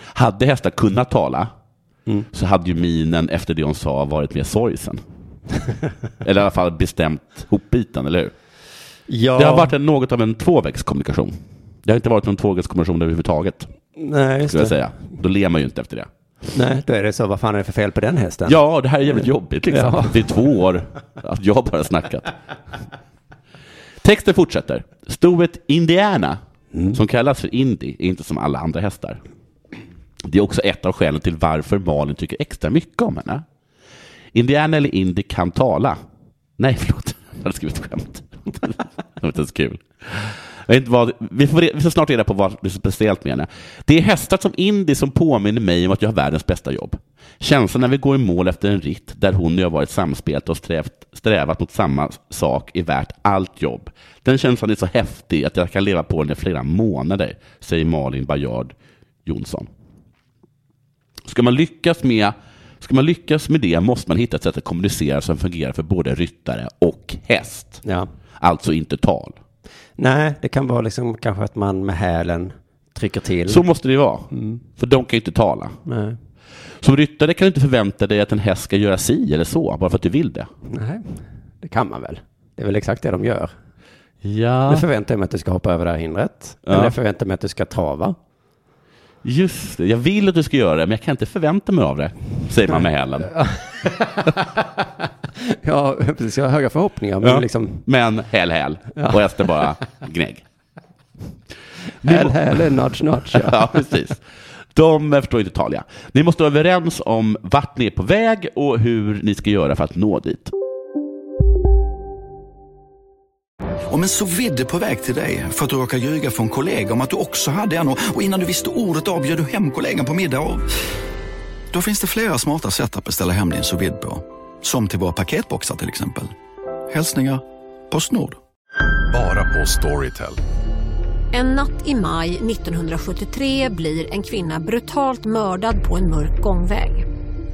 Hade hästar kunnat tala Mm. så hade ju minen efter det hon sa varit mer sorgsen. eller i alla fall bestämt hopbiten, eller hur? Ja, Det har varit en, något av en tvåvägskommunikation. Det har inte varit någon tvåvägskommunikation överhuvudtaget, nej, just skulle jag det. säga. Då ler man ju inte efter det. nej, då är det så. Vad fan är det för fel på den hästen? Ja, det här är jävligt jobbigt liksom. Ja. Det är två år att jag bara snackat. Texten fortsätter. Stoet Indiana, som kallas för Indy, är inte som alla andra hästar. Det är också ett av skälen till varför Malin tycker extra mycket om henne. Indiana eller Indy kan tala. Nej, förlåt. Jag hade skrivit skämt. Det var inte ens kul. Jag vet inte vad, vi, får, re- vi får snart reda på vad du speciellt menar. Det är hästar som Indy som påminner mig om att jag har världens bästa jobb. Känslan när vi går i mål efter en ritt där hon och jag varit samspelt och strävt, strävat mot samma sak är värt allt jobb. Den känslan är så häftig att jag kan leva på den i flera månader, säger Malin Bajard Jonsson. Ska man lyckas med, ska man lyckas med det måste man hitta ett sätt att kommunicera som fungerar för både ryttare och häst. Ja. Alltså inte tal. Nej, det kan vara liksom kanske att man med hälen trycker till. Så måste det vara. För de kan ju inte tala. Mm. Nej. Som ryttare kan du inte förvänta dig att en häst ska göra si eller så, bara för att du vill det. nej, det kan man väl. Det är väl exakt det de gör. Nu Ja, förväntar jag mig att du ska hoppa över det här hindret. Ja. Eller jag förväntar mig att du ska trava. just det. Jag vill att du ska göra det, men jag kan inte förvänta mig av det, säger man med hälen. Ja, precis. Jag har höga förhoppningar. Men Ja. liksom, Men häl, häl. Och hästen bara gnägg. häl, häl, är nudge, nudge. Ja. Ja, precis. De eh, förstår inte tal, ja. Ni måste vara överens om vart ni är på väg och hur ni ska göra för att nå dit. Om en så vidde på väg till dig för att du råkar ljuga från kollega om att du också hade en och och innan du visste ordet av bjöd du hem kollegan på middag och... Då finns det flera smarta sätt att beställa hem din sous vide på. Som till våra paketboxar till exempel. Hälsningar Postnord. Bara på Storytel. En natt i maj 1973 blir en kvinna brutalt mördad på en mörk gångväg.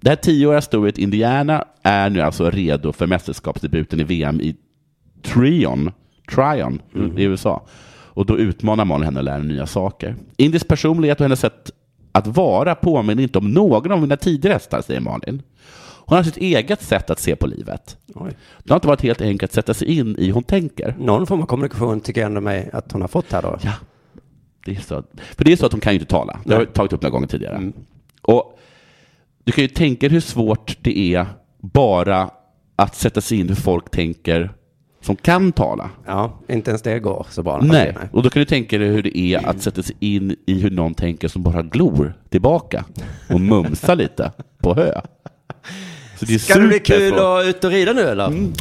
Det här tioåriga stoet Indiana är nu alltså redo för mästerskapsdebuten i VM i Trion, Tryon i USA. Och då utmanar Malin henne att lära nya saker. Indis personlighet och hennes sätt att vara påminner inte om någon av mina tidigare hästar, säger Malin. Hon har sitt eget sätt att se på livet. Oj. Det har inte varit helt enkelt att sätta sig in i hur hon tänker. Någon form av kommunikation tycker jag ändå mig att hon har fått här då. Ja. Det är så, för det är så att hon kan ju inte tala. Det har jag tagit upp några gånger tidigare. Mm. Och du kan ju tänka dig hur svårt det är bara att sätta sig in i hur folk tänker som kan tala. Ja, inte ens det går så bra. Nej. Och då kan du tänka dig hur det är att sätta sig in i hur någon tänker som bara glor tillbaka och mumsar lite på hö. Så det är Ska det bli kul supersvårt. att ut och rida nu eller? Mm.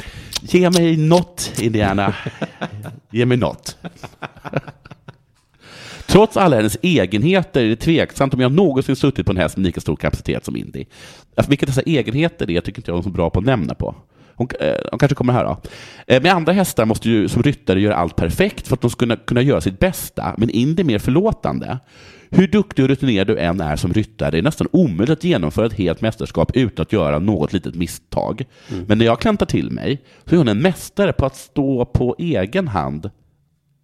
Ge mig något, Indiana. Ge mig något. Trots alla hennes egenheter är det tveksamt om jag någonsin suttit på en häst med lika stor kapacitet som Indy. Alltså, vilka dessa egenheter det är tycker inte jag hon är så bra på att nämna på. Hon, eh, hon kanske kommer här då. Eh, Men andra hästar måste ju som ryttare göra allt perfekt för att de ska kunna, kunna göra sitt bästa, men Indy är mer förlåtande. Hur duktig och rutinerad du än är som ryttare, det är nästan omöjligt att genomföra ett helt mästerskap utan att göra något litet misstag. Men när jag klantar till mig, så är hon en mästare på att stå på egen hand.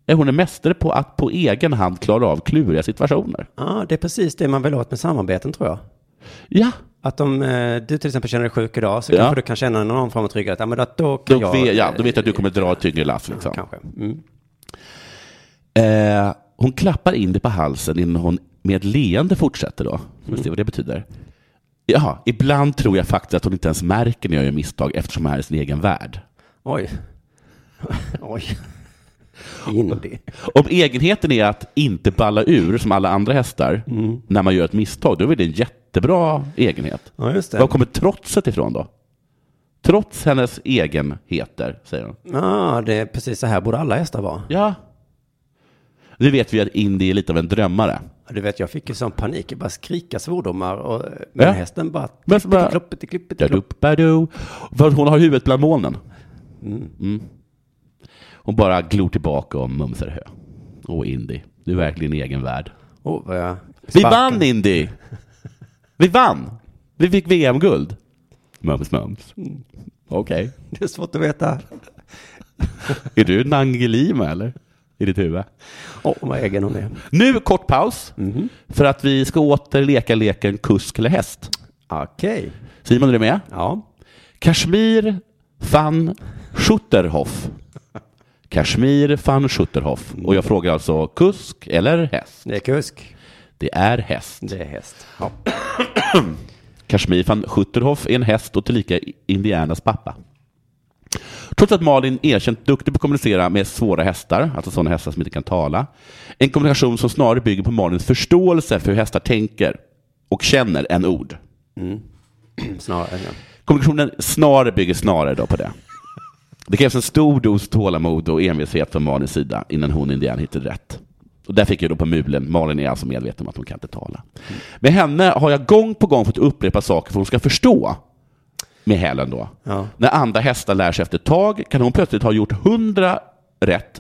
Är hon en mästare på att på egen hand klara av kluriga situationer? Ja, det är precis det man vill åt med samarbeten tror jag. Ja. Att om eh, du till exempel känner dig sjuk idag så Ja. kanske du kan känna någon form av trygghet. Ja, men då, då kan Då, jag... eh, vet, ja, eh, då vet jag att du kommer dra ett tyngre lass. Liksom. Kanske. Mm. Eh, hon klappar in det på halsen innan hon med ett leende fortsätter då. Får vi se vad det betyder. Jaha, ibland tror jag faktiskt att hon inte ens märker när jag gör misstag eftersom hon är i sin egen värld. Oj. Oj. Indy. Om egenheten är att inte balla ur som alla andra hästar när man gör ett misstag, då är det en jättebra egenhet. Ja, just det. Var kommer trotset ifrån då? Trots hennes egenheter, säger hon. Ja, det är precis så här borde alla hästar vara. Ja. Nu vet vi att Indy är lite av en drömmare. Du vet, jag fick ju sån panik. Jag bara skrika svordomar och eh, men Ja. hästen bara... Men så bara- Klippet, klippet, klippet, Där upp, där du. För att hon har huvudet bland molnen. Mm. Hon bara glor tillbaka och mumsar hö. Åh, Indy, du är verkligen i egen värld. Oh, vad jag Vi sparkar. vann, Indy! Vi vann! Vi fick VM-guld. Mums, mums. Mm. Okej. Det är svårt att veta. Är du Nangilima, eller? I ditt huvud? Åh, vad egen hon är. Nu kort paus, för att vi ska åter leka leken kusk eller häst. Okej. Simon, är du med? Ja. Kashmir van Schutterhoff. Kashmir van Schutterhoff. Och jag frågar alltså kusk eller häst? Det är kusk. Det är häst. Det är häst. Ja. Kashmir van Schutterhoff är en häst och tillika Indianas pappa. Trots att Malin erkänt duktig på att kommunicera med svåra hästar, alltså sådana hästar som inte kan tala, en kommunikation som snarare bygger på Malins förståelse för hur hästar tänker och känner än ord. Snarare. Ja. Kommunikationen snarare bygger snarare då på det. Det krävs en stor dos tålamod och envishet från Malins sida innan hon indian hittade rätt. Och där fick jag då på mulen, Malin är alltså medveten om att hon kan inte tala. Med henne har jag gång på gång fått upprepa saker för hon ska förstå. Med hälen då. Ja. När andra hästar lär sig efter ett tag kan hon plötsligt ha gjort hundra rätt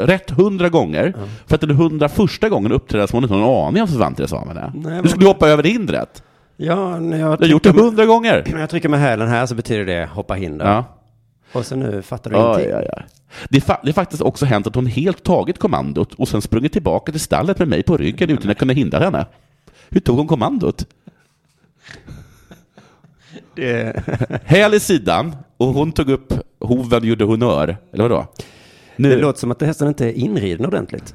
eh, rätt hundra gånger för att den hundra första gången uppträda som hon inte har någon aning om för Svante sa med det. Nej, men- Du skulle hoppa över hindret. Ja, när jag, Du har gjort det hundra gånger. när jag trycker med hälen här så betyder det hoppa hinder. Ja. Och så nu fattar du Ja, ingenting. ja, ja. Det, är fa- det är faktiskt också hänt att hon helt tagit kommandot och sen sprungit tillbaka till stallet med mig på ryggen utan att kunna hindra henne. Hur tog hon kommandot? Häl i sidan och hon tog upp hoven och gjorde honör. Eller vadå? Det Nu. låter som att hästen inte är inriden ordentligt.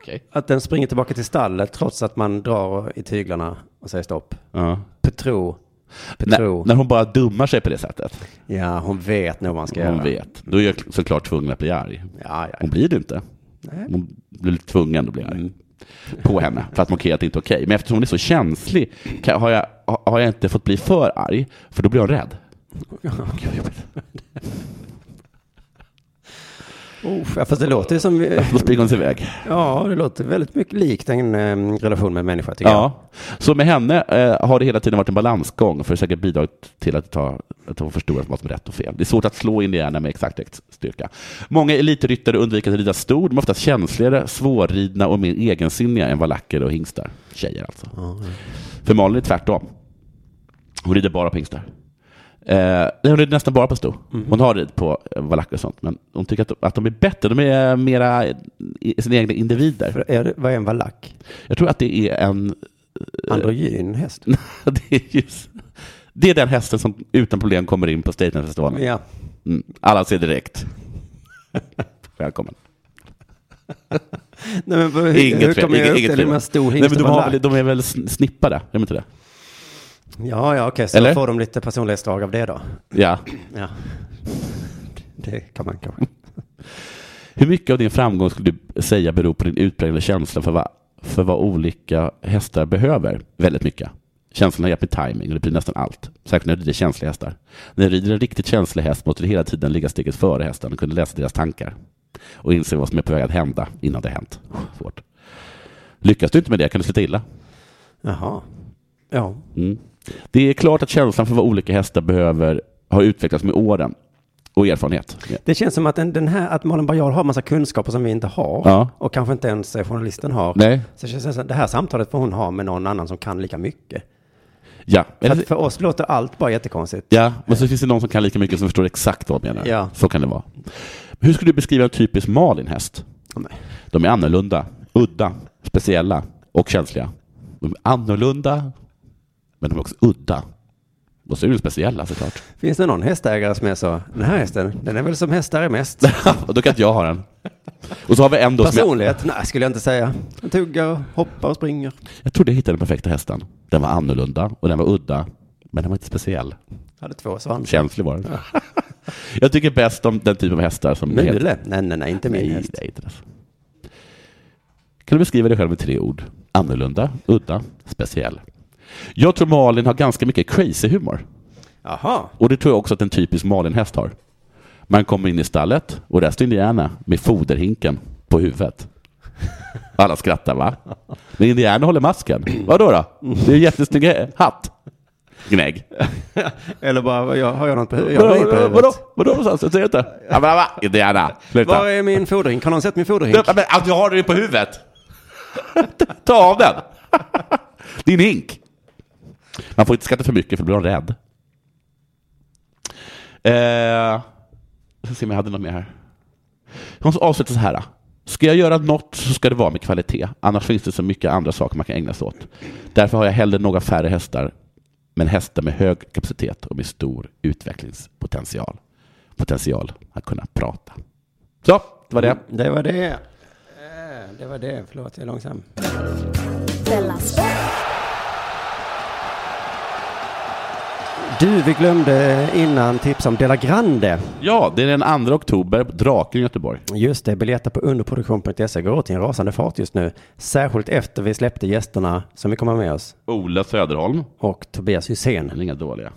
Okej. Att den springer tillbaka till stallet trots att man drar i tyglarna och säger stopp. Ja. Petro. Petro. När, när hon bara dummar sig på det sättet. Ja, hon vet nog vad man ska Hon göra. vet. Då är jag såklart tvungen att bli arg. Ja, ja, ja. Hon blir det inte. Hon blir tvungen att bli arg på henne för att markera att det inte är okej. Men eftersom hon är så känslig kan, har, jag, har jag inte fått bli för arg, för då blir hon rädd. Gud, vad jobbigt. Usch, ja, fast det låter ju som... vi- Då springer hon sig iväg. Ja, det låter väldigt mycket likt en em, relation med en människa tycker jag. Ja. Så med henne eh, har det hela tiden varit en balansgång för att säkert bidra till att, ta, att hon förstår vad som är rätt och fel. Det är svårt att slå indianer med exakt ex- styrka. Många elitryttare undviker att rida stor. De är oftast känsligare, svårridna och mer egensinniga än valacker och hingstar. Tjejer alltså. För Malin är det tvärtom. Hon rider bara på hingstar. Eh, nej, hon rider nästan bara på sto. Hon har rid på eh, valacker och sånt, men hon tycker att, att de är bättre. De är eh, mera eh, i- sina egna individer. För är det, vad är en valack? Jag tror att det är en Eh, Androgyn häst? det, är just, det är den hästen som utan problem kommer in på Statenfestivalen. Ja. Mm. Alla ser direkt. Välkommen. Nej, men hur, Inget hur fel, kommer jag inget- upp inget till hur fel. man stor Nej, men hingst de, och har väl, valack? de är väl sn- snippade? Är de inte det? Ja, ja, okej, så Eller? får de lite personlighetsdrag av det då. Ja. Ja. Det kan man kanske. Hur mycket av din framgång skulle du säga beror på din utpräglade känsla för vad, för vad olika hästar behöver? Väldigt mycket. Känslan har hjälpt med timing och det blir nästan allt. Särskilt när du rider känsliga hästar. När du rider en riktigt känslig häst måste du hela tiden ligga steget före hästen och kunna läsa deras tankar. Och inse vad som är på väg att hända innan det hänt. Svårt. Lyckas du inte med det kan du sluta illa. Jaha. Ja. Mm. Det är klart att känslan för vad olika hästar behöver har utvecklats med åren och erfarenhet. Det känns som att, den, den här, att Malin Baryard har massa kunskaper som vi inte har Ja. och kanske inte ens eh, journalisten har. Nej. Så det känns nästan- det här samtalet får hon ha med någon annan som kan lika mycket. Ja, För, att för oss låter allt bara jättekonstigt. ja men så finns det någon som kan lika mycket som förstår exakt vad de menar. Ja. Så kan det vara. Hur skulle du beskriva en typisk Malin-häst? De är annorlunda, udda, speciella och känsliga. De är annorlunda, men de är också udda. Och så är de speciella såklart. Finns det någon hästägare som är så, den här hästen, den är väl som hästar är mest. och då kan inte jag ha den. Och så har vi en då som jag, Personlighet? Nej, skulle jag inte säga. Den tuggar, och hoppar och springer. jag trodde jag hittade den perfekta hästen. Den var annorlunda och den var udda, men den var inte speciell. Hade två svansar. Känslig var den. Jag tycker bäst om den typen av hästar som... Mule? Nej, nej, nej, inte min Nej, häst. nej, inte dess. Kan du beskriva dig själv med tre ord? Annorlunda, udda, speciell. Jag tror Malin har ganska mycket crazy humor. Jaha. Och det tror jag också att en typisk Malin-häst har. Man kommer in i stallet och där står Indiana med foderhinken på huvudet. Alla skrattar va? Men Indiana håller masken. Vadå då? Det är en jättesnygg hatt. Gnägg. Eller bara, vad jag, har jag något på huvudet? Jag har inget på huvudet. Vadå? Vadå någonstans? Jag ser inte. Ja, men, va? Indiana, sluta. Var är min fodring? Har någon sett min fodring? Ja, men att du har den på huvudet. Ta av den. Din hink. Man får inte skratta för mycket för då blir de rädd. Eh, ska se om jag hade något mer här. Hon avslutar så här. Ska jag göra något så ska det vara med kvalitet. Annars finns det så mycket andra saker man kan ägna sig åt. Därför har jag hellre några färre hästar. Men hästar med hög kapacitet och med stor utvecklingspotential. Potential att kunna prata. Så, det var det. Mm. Det var det. Eh, Det var det. Förlåt, jag är långsam. Della Sport. Du, vi glömde innan tipsa om Dela Grande. Ja, det är den 2 oktober på Draken i Göteborg. Just det, biljetter på underproduktion.se E går åt i en rasande fart just nu. Särskilt efter vi släppte gästerna som vi kommer med oss Ola Söderholm. och Tobias Det Hysén. är inga dåliga.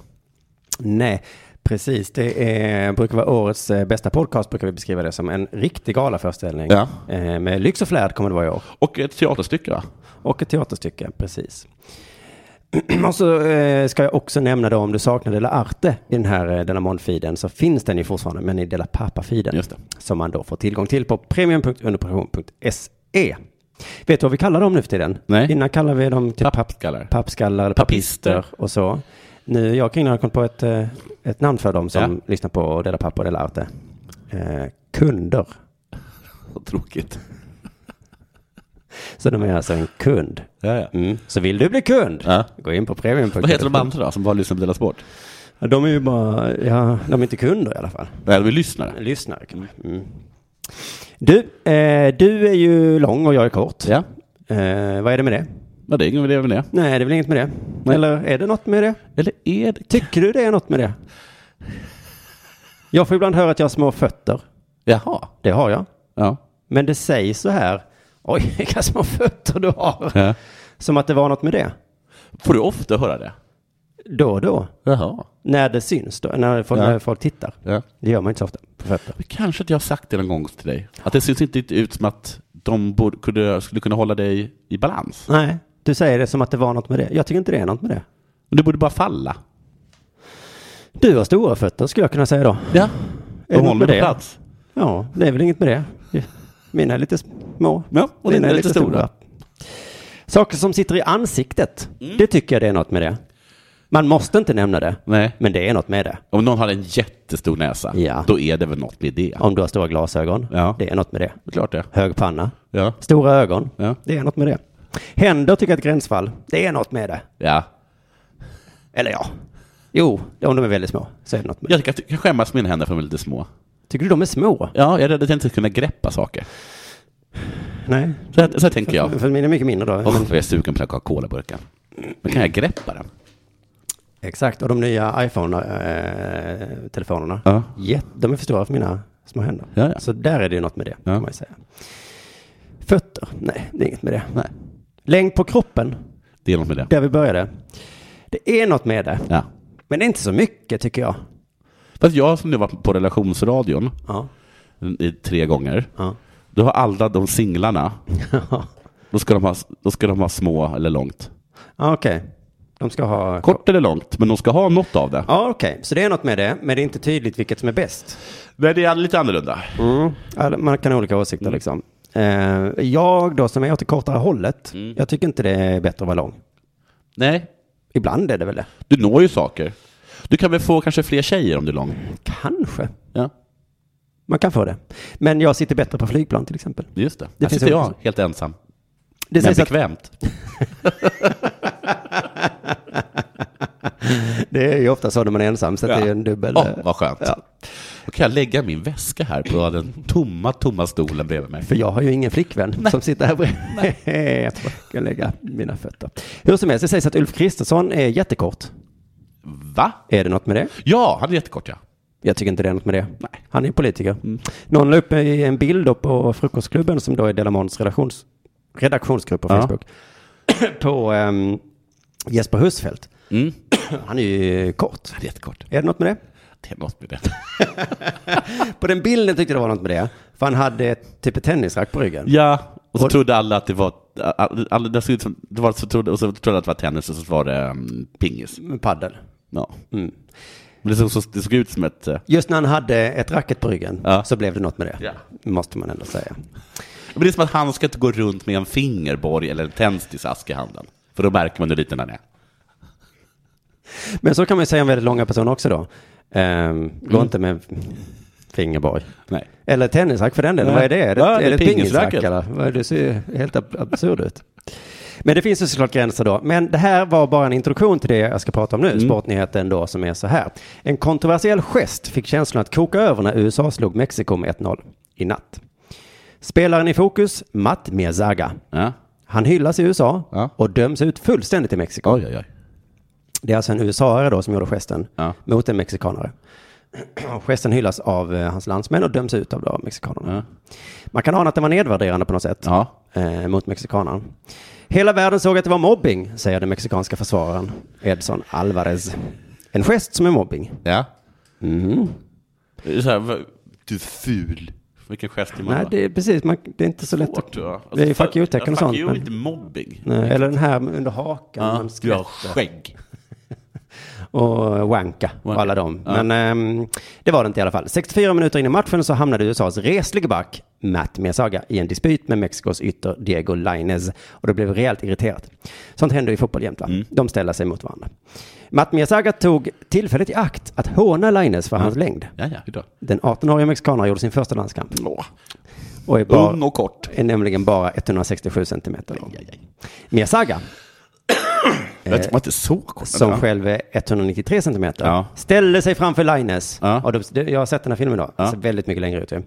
Nej, precis. Det är, brukar vara årets eh, bästa podcast, brukar vi beskriva det som. En riktig galaföreställning. Ja. Eh, Med lyx och flärd kommer det vara i år. Och ett teaterstycke va? Och ett teaterstycke, precis. Och så eh, ska jag också nämna då om du saknar Dela Arte i den här eh, Dela Mon-feeden så finns den ju fortfarande men i Dela Pappa-feeden Just det. som man då får tillgång till på premium.underproduktion.se. E. Vet du vad vi kallar dem nu för tiden? Nej. Innan kallade vi dem till Pappskallar. pappskallar eller Papister. papister. och så. Nu, jag och Kringlan har kommit på ett, eh, ett namn för dem som Ja. lyssnar på Dela Pappa och Dela Arte. Eh, kunder. Vad tråkigt. Så de är alltså en kund. Ja, ja. Mm. Så vill du bli kund, Ja. gå in på premium.se. Vad heter de andra då, som bara lyssnar på Dela Sport? Ja, De är ju bara, ja, de är inte kunder i alla fall. Nej, de är lyssnare. Lyssnare kan man. Mm. Du, eh, du är ju lång och jag är kort. Ja, Eh, vad är det med det? men det är ingen idé med det. Nej, det är väl inget med det. Nej. Eller är det något med det? Eller är det... Tycker du det är något med det? Jag får ibland höra att jag har små fötter. Jaha. Det har jag. Ja. Men det sägs så här. Oj, vilka små fötter du har. ja. Som att det var något med det. Får du ofta höra det? Då och då. Jaha. När det syns då. När folk, Ja. när folk tittar. Ja. Det gör man inte så ofta på fötter. Men kanske att jag har sagt det någon gång till dig. Att det syns inte ut som att de borde, kunde, skulle kunna hålla dig i balans. Nej, du säger det som att det var något med det. Jag tycker inte det är något med det. Men Du borde bara falla. Du har stora fötter skulle jag kunna säga då. Ja. Är det Och något håll med dig på det? plats. Ja, det är väl inget med det. Mina är lite små. Ja, och dina är lite stora. Saker som sitter i ansiktet, Mm. det tycker jag det är något med det. Man måste inte nämna det, Nej. men det är något med det. Om någon har en jättestor näsa, Ja. då är det väl något med det. Om du har stora glasögon, Ja. det är något med det. Det är klart det. Hög panna, Ja. stora ögon, Ja. det är något med det. Händer tycker jag är ett gränsfall, det är något med det. ja. Eller ja, jo, om de är väldigt små så är det något med det. Jag tycker att jag kan skämmas med mina händer för de är lite små. Tycker du de är små? Ja, jag är rädd att jag inte ska kunna greppa saker. Nej. Så här, så här tänker jag. För mina är mycket mindre då. Åh, men- vad jag är sugen på den här Coca-Cola-burken. Men kan jag greppa den? Exakt, och de nya iPhone-telefonerna. Ja. de är för stora för mina små händer. Ja, ja. Så där är det ju något med det, Ja. kan man ju säga. Fötter, nej, det är inget med det. Nej. Längd på kroppen, Det är något med det. där vi började. Det är något med det, Ja. men det är inte så mycket tycker jag. Fast jag som nu var på relationsradion Ja. i tre gånger, Ja. då har alla de singlarna, då ska de ha, då ska de ha små eller långt. Ja, Ah, Okej, De ska ha... Kort eller långt, men de ska ha något av det. Ja, okej. Så det är något med det, men det är inte tydligt vilket som är bäst. Nej, det är lite annorlunda. Mm. Alla- Man kan ha olika åsikter Mm. liksom. Eh, jag då som är åt det kortare hållet, Mm. jag tycker inte det är bättre att vara lång. Nej. Ibland är det väl det? Du når ju saker. Du kan väl få kanske fler tjejer om du är lång? Kanske. Ja. Man kan få det. Men jag sitter bättre på flygplan till exempel. Just det. Det Här finns sitter jag olika- helt ensam. Det men sägs att- bekvämt. Det är ju ofta så när man är ensam, så att det är ju en dubbel... eh, Åh, vad skönt. Ja. Då kan jag lägga min väska här på den tomma, tomma stolen bredvid mig. För jag har ju ingen flickvän som sitter här bredvid. jag tror jag kan lägga mina fötter. Hur som helst, det sägs att Ulf Kristersson är jättekort. Va? Är det något med det? Ja, han är jättekort ja. Jag tycker inte det är något med det. Han är politiker. Mm. Någon la upp en bild då på Frukostklubben som då är Delamons redaktions, redaktionsgrupp på Ja. Facebook. på ehm, Jesper Husfeldt. Mm. Han är ju kort. Han är jättekort. Är det något med det? Det är något med det. På den bilden tyckte jag det var något med det. För han hade ett- typ ett tennisrack på ryggen. Ja, och så Och- trodde alla att det var... Alla, alla, det såg ut som- det var så trodde, och så trodde alla att det var tennis och så var det um, pingis. Med paddel. Ja. Mm. Men det såg, så, det såg ut som ett... eh, Just när han hade ett racket på ryggen Ja. så blev det något med det. Ja. Måste man ändå säga. Men det är som att han ska inte gå runt med en fingerborg eller en tändsticksask i handen. För då märker man hur liten han är. Men så kan man ju säga om väldigt långa personer också då. Ehm, gå Mm. inte med fingerborg. Nej. Eller tennisrack för den delen. Nej. Vad är det? Är det, Ja, det är är det ett pingisrack? pingisracket. eller? Vad är det? Det ser ju helt ab- absurd ut. Men det finns ju såklart gränser då. Men det här var bara en introduktion till det jag ska prata om nu, Mm. sportnyheten då som är så här. En kontroversiell gest fick känslan att koka över när USA slog Mexiko med 1-0 i natt. Spelaren i fokus, Matt Mezaga. Ja. Han hyllas i USA Ja. och döms ut fullständigt i Mexiko. Oj, oj, oj. Det är alltså en USA-are då som gjorde gesten Ja. mot en mexikanare. gesten hyllas av eh, hans landsmän och döms ut av då mexikanerna. Man kan ana att den var nedvärderande på något sätt Ja. eh, mot mexikanaren. Hela världen såg att det var mobbing, säger den mexikanska försvararen Edson Alvarez. En gest som är mobbing. Ja. Mm. Det är Så här, va- du är ful. Vilken gest är man Nej, då? det är precis, man, det är inte så lätt. Svårt, ja. Alltså, det är ju för- fuck you-tecken ja, och sånt. Fuck you är inte Men, mobbing. nej, eller den här under hakan, Ja, man du har skvätter. skägg. och Wanka och Wanka. alla dem. Ja. Men ehm, det var det inte i alla fall. 64 minuter in i matchen så hamnade USAs reslige back Matt Mesaga i en dispyt med Mexikos ytter Diego Lainez och det blev rejält irriterat. Sånt händer i fotboll jämt. va? Mm. De ställer sig mot varandra. Matt Mesaga tog tillfället i akt att håna Lainez för hans längd. Ja, ja, hur då? Den 18-åriga mexikanaren gjorde sin första landskamp Åh, och är, bara, Ung och kort. är nämligen bara 167 centimeter lång. aj, aj. Mesaga Det var inte så kort. som Ja. själv är 193 centimeter, Ja. ställde sig framför Linus. Ja. Och de, det- jag har sett den här filmen då, Ja. ser väldigt mycket längre ut ju.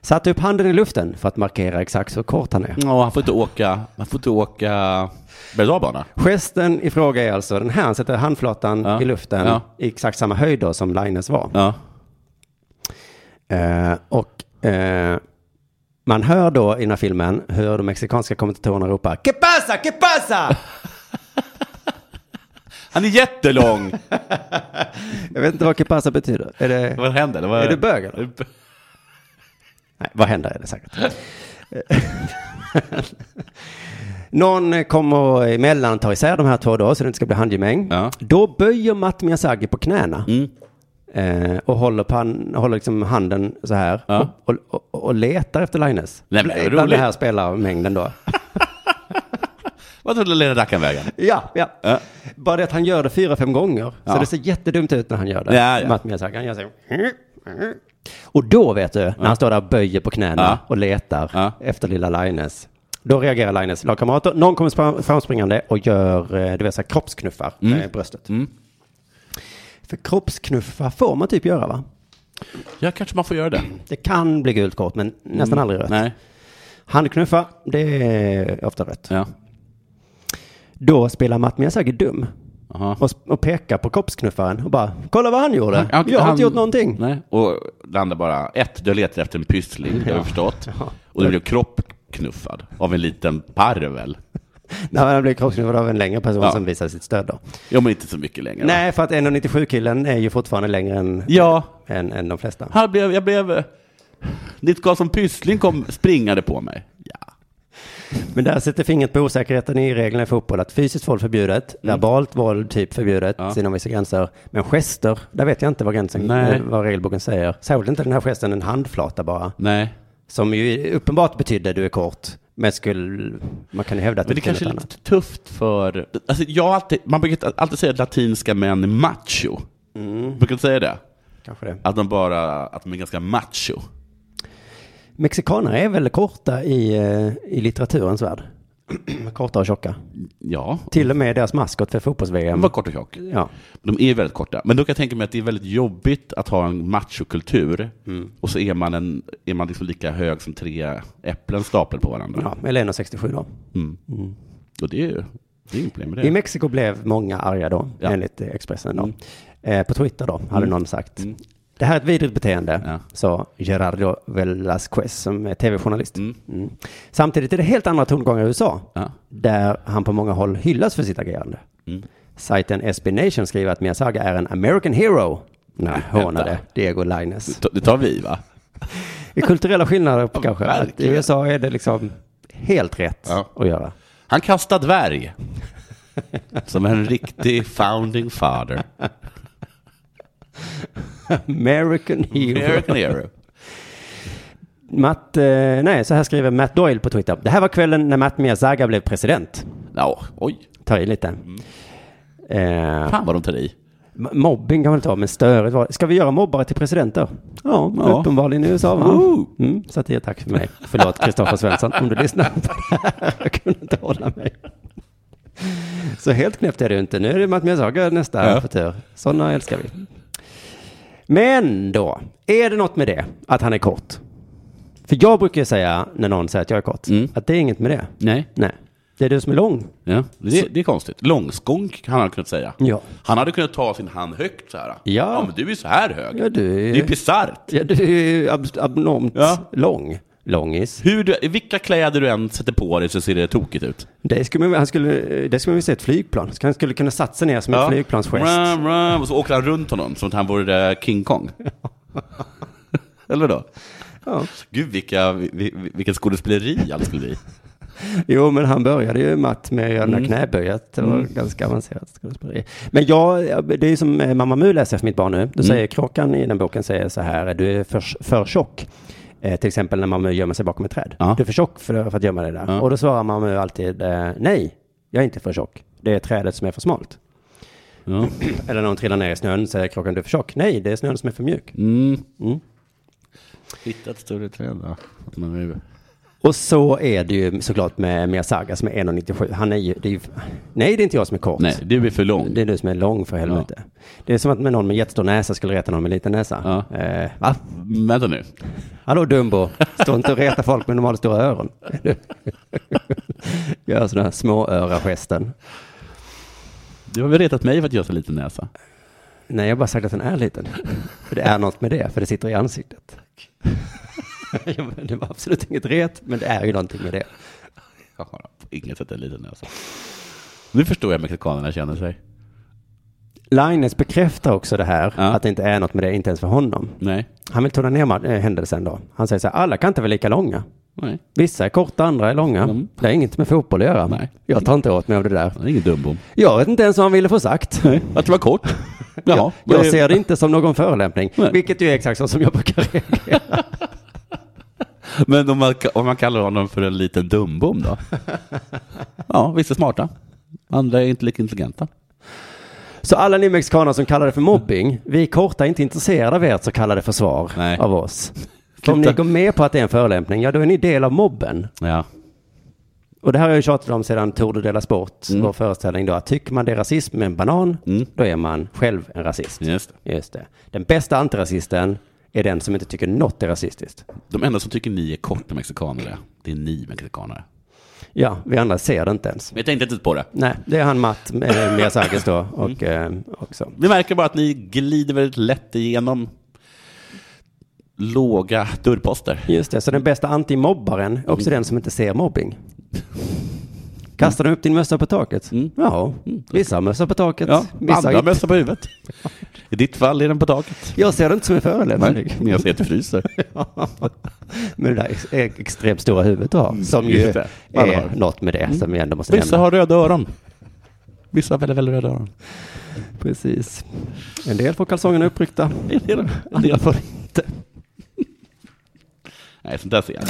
Satte upp handen i luften för att markera exakt hur kort han är. Ja, han får inte åka, han får inte åka berg Gesten i fråga är alltså den här, han sätter handflatan Ja. i luften Ja. i exakt samma höjd då som Linus var. Ja. Eh, och eh, man hör då i den här filmen hur de mexikanska kommentatorerna ropar Que pasa, que pasa! Han är jättelång! jag vet inte vad que pasa betyder. Är det... Vad händer? Vad Är du bög, eller? Är du bög? Nej, vad händer är det säkert. Någon kommer emellan och tar isär de här två då, så det inte ska bli handgemäng. Ja. Mm. Då böjer Matt Miyazaki på knäna. Eh, och håller, pan, håller liksom handen så här. Ja. Och, och, och, och letar efter Linus. Nej, men det är Bland roligt. den här spelarmängden då. Vad tog lilla rackaren vägen? ja, ja. Ja. Bara det att han gör det fyra, fem gånger. Ja. Så det ser jättedumt ut när han gör det. Ja, ja. Matt Miyazaki, han gör så. här. Och då vet du, när han står där och böjer på knäna Ja. och letar Ja. efter lilla Linus. Då reagerar Linus lagkamrater. Någon kommer spra- framspringande och gör eh, du vet, så här, kroppsknuffar Mm. med bröstet. För kroppsknuffar får man typ göra va? Ja, kanske man får göra det. Det kan bli gult kort men nästan aldrig rött. Mm. Nej. Handknuffar, det är ofta rött. Ja. Då spelar Matt Miyazaki dum. Aha. Och, sp- och pekar på kroppsknuffaren och bara kolla vad han gjorde. Han- Jag har han- inte gjort någonting. Nej. Och det andra bara, ett, du letar efter en pyssling, det har jag förstått. Och du blev kroppknuffad av en liten parvel. Nej, han blev kroppsknuffad av en längre person Ja. som visar sitt stöd då. Ja, men inte så mycket längre. va? Nej, för att 1,97-killen är ju fortfarande längre än, Ja, än, än de flesta. han eh, blev, jag blev... Ditt gas som pyssling kom springande på mig. Ja. Men där sätter fingret på osäkerheten i reglerna i fotboll. Att fysiskt våld förbjudet, Mm. verbalt våld typ förbjudet inom vissa gränser. Men gester, där vet jag inte vad gränsen, Nej. eh, vad regelboken säger. Särskilt inte den här gesten, en handflata bara. Nej. Som ju uppenbart betydde du är kort. Men skulle, man kan ju hävda att Men betyder det kanske är något lite annat. tufft för... Alltså jag har alltid, man brukar alltid säga att latinska män är macho. Mm. Brukar du säga det? Kanske det. Att de bara, att de är ganska macho. Mexikaner är väl korta i, eh, i litteraturens värld? korta och tjocka. Ja. Till och med deras maskot för fotbolls-VM. De var kort och tjock. Ja. De är väldigt korta. Men då kan jag tänka mig att det är väldigt jobbigt att ha en machokultur och så är man, en, är man liksom lika hög som tre äpplen staplade på varandra. ja, eller 1,67 då. Mm. Mm. Och det är ju det är inget problem med det. I Mexiko blev många arga då, Ja. enligt eh, Expressen då. Mm. Eh, på Twitter då, hade Mm. någon sagt. Mm. Det här är ett vidrigt beteende, Ja. sa Gerardo Velasquez som är tv-journalist. Mm. Mm. Samtidigt är det helt andra tongångar i USA, Ja. där han på många håll hyllas för sitt agerande. Mm. Sajten SB Nation skriver att Miyazaga är en American hero när han Vänta. hånade Diego Lainez. Det tar- Det tar vi va? I kulturella skillnader kanske. Att I verkligen. USA är det liksom helt rätt Ja. att göra. Han kastar dvärg. Som en riktig founding father. American hero. American hero. Matt, eh, nej, så här skriver Matt Doyle på Twitter. Det här var kvällen när Matt Miyazaga blev president. Ja, oj. Ta i lite. Eh, Fan vad de tar i. m- mobbing kan man inte ha, men störigt var det. Ska vi göra mobbare till presidenter? Ja, Ja. uppenbarligen i USA va? Woo! Mm, satir, tack för mig. Förlåt Kristoffer Svensson om du lyssnar på det här. Jag kunde inte hålla mig. Så helt knäppt är det ju inte. Nu är det Matt Miyazaga nästa Ja. för tur. Sådana älskar vi. Men då, är det något med det att han är kort? För jag brukar ju säga när någon säger att jag är kort, Mm. att det är inget med det. Nej. Nej, det är du som är lång. Ja, det, det är konstigt. Långskonk han hade kunnat säga. Ja. Han hade kunnat ta sin hand högt så här. Ja. men du är så här hög. Ja, du är- Det är bisarrt. Ja, du är ju ab- abnormt Ja. lång. Långis. Hur du, vilka kläder du än sätter på dig så ser det tokigt ut. Det skulle man, han skulle, eh, det skulle man vilja se ett flygplan. Så Han skulle kunna satsa ner som en flygplansgest. Ram, ram, och så åker han runt honom som att han vore eh, King Kong. Eller då? Ja. Gud, vilka, vi- vi- vilket skådespeleri allt skulle bli. Jo, men han började ju matt med att göra Mm. den här knäböjet. Det var ganska avancerat skådespeleri. Men jag, det är ju som eh, Mamma Mu läser för mitt barn nu. Då Mm. säger Kråkan i den boken säger så här, du är för, för tjock. Eh, till exempel när Mamma Mu gömmer sig bakom ett träd. Ja. Du är för tjock för, för att gömma dig där. Ja. Och då svarar Mamma Mu alltid, eh, nej, jag är inte för tjock. Det är trädet som är för smalt. Ja. Eller när hon trillar ner i snön säger Kråkan, du är för tjock. Nej, det är snön som är för mjuk. Mm. Mm. Hitta ett större träd då. Att man är- Och så är det ju såklart med Miyazaga som är 1,97. Han är ju, det är ju, nej det är inte jag som är kort. Nej, du är för lång. Det är du som är lång för helvete. Det är som att med någon med jättestor näsa skulle reta någon med liten näsa. Ja. Eh, va? Vänta nu. Hallå Dumbo, stå inte och reta folk med normalt stora öron. Gör sådana här småöra-gesten. Du har väl retat mig för att jag har så liten näsa? Nej, jag har bara sagt att den är liten. För det är något med det, för det sitter i ansiktet. Ja, men det var absolut inget ret, men det är ju någonting med det. Jag har på inget sätt en liten näsa. Nu förstår jag hur mexikanerna känner sig. Linus bekräftar också det här, Ja. att det inte är något med det, inte ens för honom. Nej. Han vill tona ner ma- eh, händelsen då. Han säger så här, alla kan inte vara lika långa. Nej. Vissa är korta, andra är långa. Mm. Det har inget med fotboll att göra. Nej. Jag tar inte åt mig av det där. Det är ingen dumbom. Jag vet inte ens vad han ville få sagt. Att det var kort. Jaha. Jag, jag ser det inte som någon förolämpning, Nej. vilket ju är exakt så som jag brukar reagera. Men om man, om man kallar honom för en liten dumbom då? Ja, vissa är smarta. Andra är inte lika intelligenta. Så alla ni mexikaner som kallar det för mobbing, vi korta är inte intresserade av ert så kallade försvar Nej. av oss. För om ni Sluta. går med på att det är en förolämpning, ja då är ni del av mobben. Ja. Och det här har jag ju tjatat om sedan Tour de Dela Sport, Mm. vår föreställning då, att tycker man det är rasism med en banan, då är man själv en rasist. Just det. Just det. Den bästa antirasisten är den som inte tycker något är rasistiskt. De enda som tycker ni är korta mexikanare, det är ni mexikanare. Ja, vi andra ser det inte ens. Men jag tänkte inte på det. Nej, det är han Matt eh, Miyazakis då och eh, också. Vi märker bara att ni glider väldigt lätt igenom låga dörrposter. Just det, så den bästa antimobbaren är också den som inte ser mobbing. Kastar du upp din mössa på taket? Mm. Ja, vissa har mössa på taket, Ja, vissa andra inte. mössa på huvudet. I ditt fall är den på taket. Jag ser det inte som en förolämpning. Men jag ser att du fryser. Med det där ex- ex- extremt stora huvudet du har. Som ju just det. Man är har. något med det som vi ändå måste Vissa nämna. har röda öron. Vissa har väldigt, väldigt röda öron. Precis. En del får kalsongerna uppryckta. En del- en Andra del får får inte. Nej, sånt där ser jag.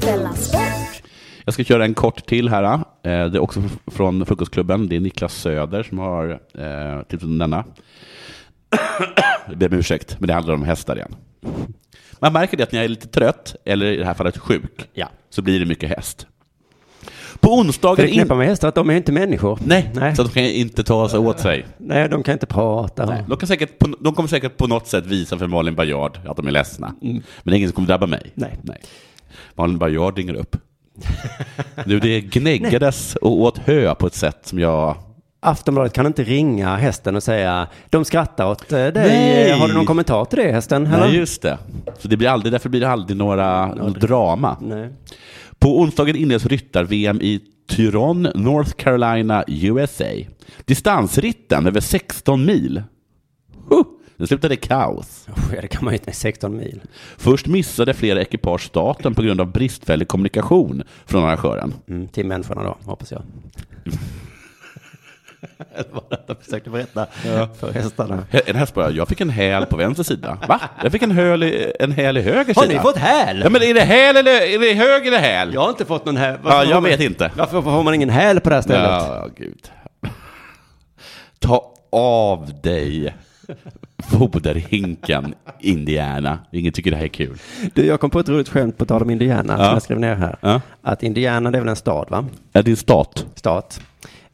Della Sport, Jag ska köra en kort till här. eh. Det är också f- från Frukostklubben. Det är Niklas Söder som har eh, tipsat om denna. Jag ber om ursäkt, men det handlar om hästar igen. Man märker det att när jag är lite trött, eller i det här fallet sjuk, Ja. så blir det mycket häst. På För onsdagen... det knäppa med hästar att de är ju inte människor. Nej, Nej. så att de kan inte ta sig åt sig. Nej, de kan inte prata. Nej. De, kan säkert, på- de kommer säkert på något sätt visa för Malin Baryard att de är ledsna. Men det är ingen som kommer drabba mig. Nej. Malin Baryard ringer upp. nu, det gnäggades och åt hö på ett sätt som jag... Aftonbladet kan inte ringa hästen och säga de skrattar åt eh, dig. Nej. Har du någon kommentar till det hästen? Eller? Nej, just det. Så det blir aldrig, därför blir det aldrig några drama. Nej. På onsdagen inleds ryttar-VM i Tyron, North Carolina, USA. Distansritten över 16 mil. Huh! Den slutade i kaos. Usch, ja, det kan man ju inte. 16 mil. Först missade flera ekipage starten på grund av bristfällig kommunikation från arrangören. Mm, till människorna då, hoppas jag. Eller vad jag försökte berätta för hästarna. Hä- En häst bara, jag fick en häl på vänster sida. Va? Jag fick en häl i, en häl i höger Har sida. ni fått häl? Ja, men är det häl eller är det höger eller häl? Jag har inte fått någon häl. Ja, jag har man- vet inte. Varför, varför har man ingen häl på det här stället? Ja, gud. Ta av dig foderhinken, Indiana. Ingen tycker det här är kul. Du, jag kom på ett roligt skämt på tal om Indiana som Ja. jag skrev ner här. Ja. Att Indiana, det är väl en stad, va? Ja, det är stat. Stat.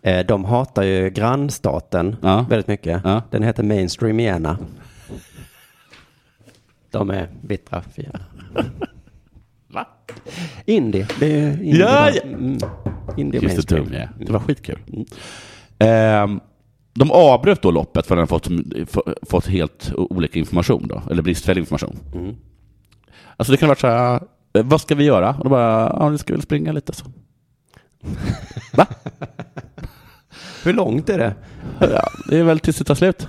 Eh, De hatar ju grannstaten Ja. väldigt mycket. Ja. Den heter Mainstreamiana. De är bittra fiender. Va? Indie, det är ju indie. Ja, ja. Mm. Indie och Just det, mainstream. tunga. Det var skitkul. Ehm, de avbröt då loppet för att den hade fått, f- fått helt o- olika information då, eller bristfällig information. Alltså det kan ha varit så här, "Eh, vad ska vi göra? Och de bara, ja, vi ska väl springa lite så. Va? Hur långt är det? Ja, det är väl tills det tar slut.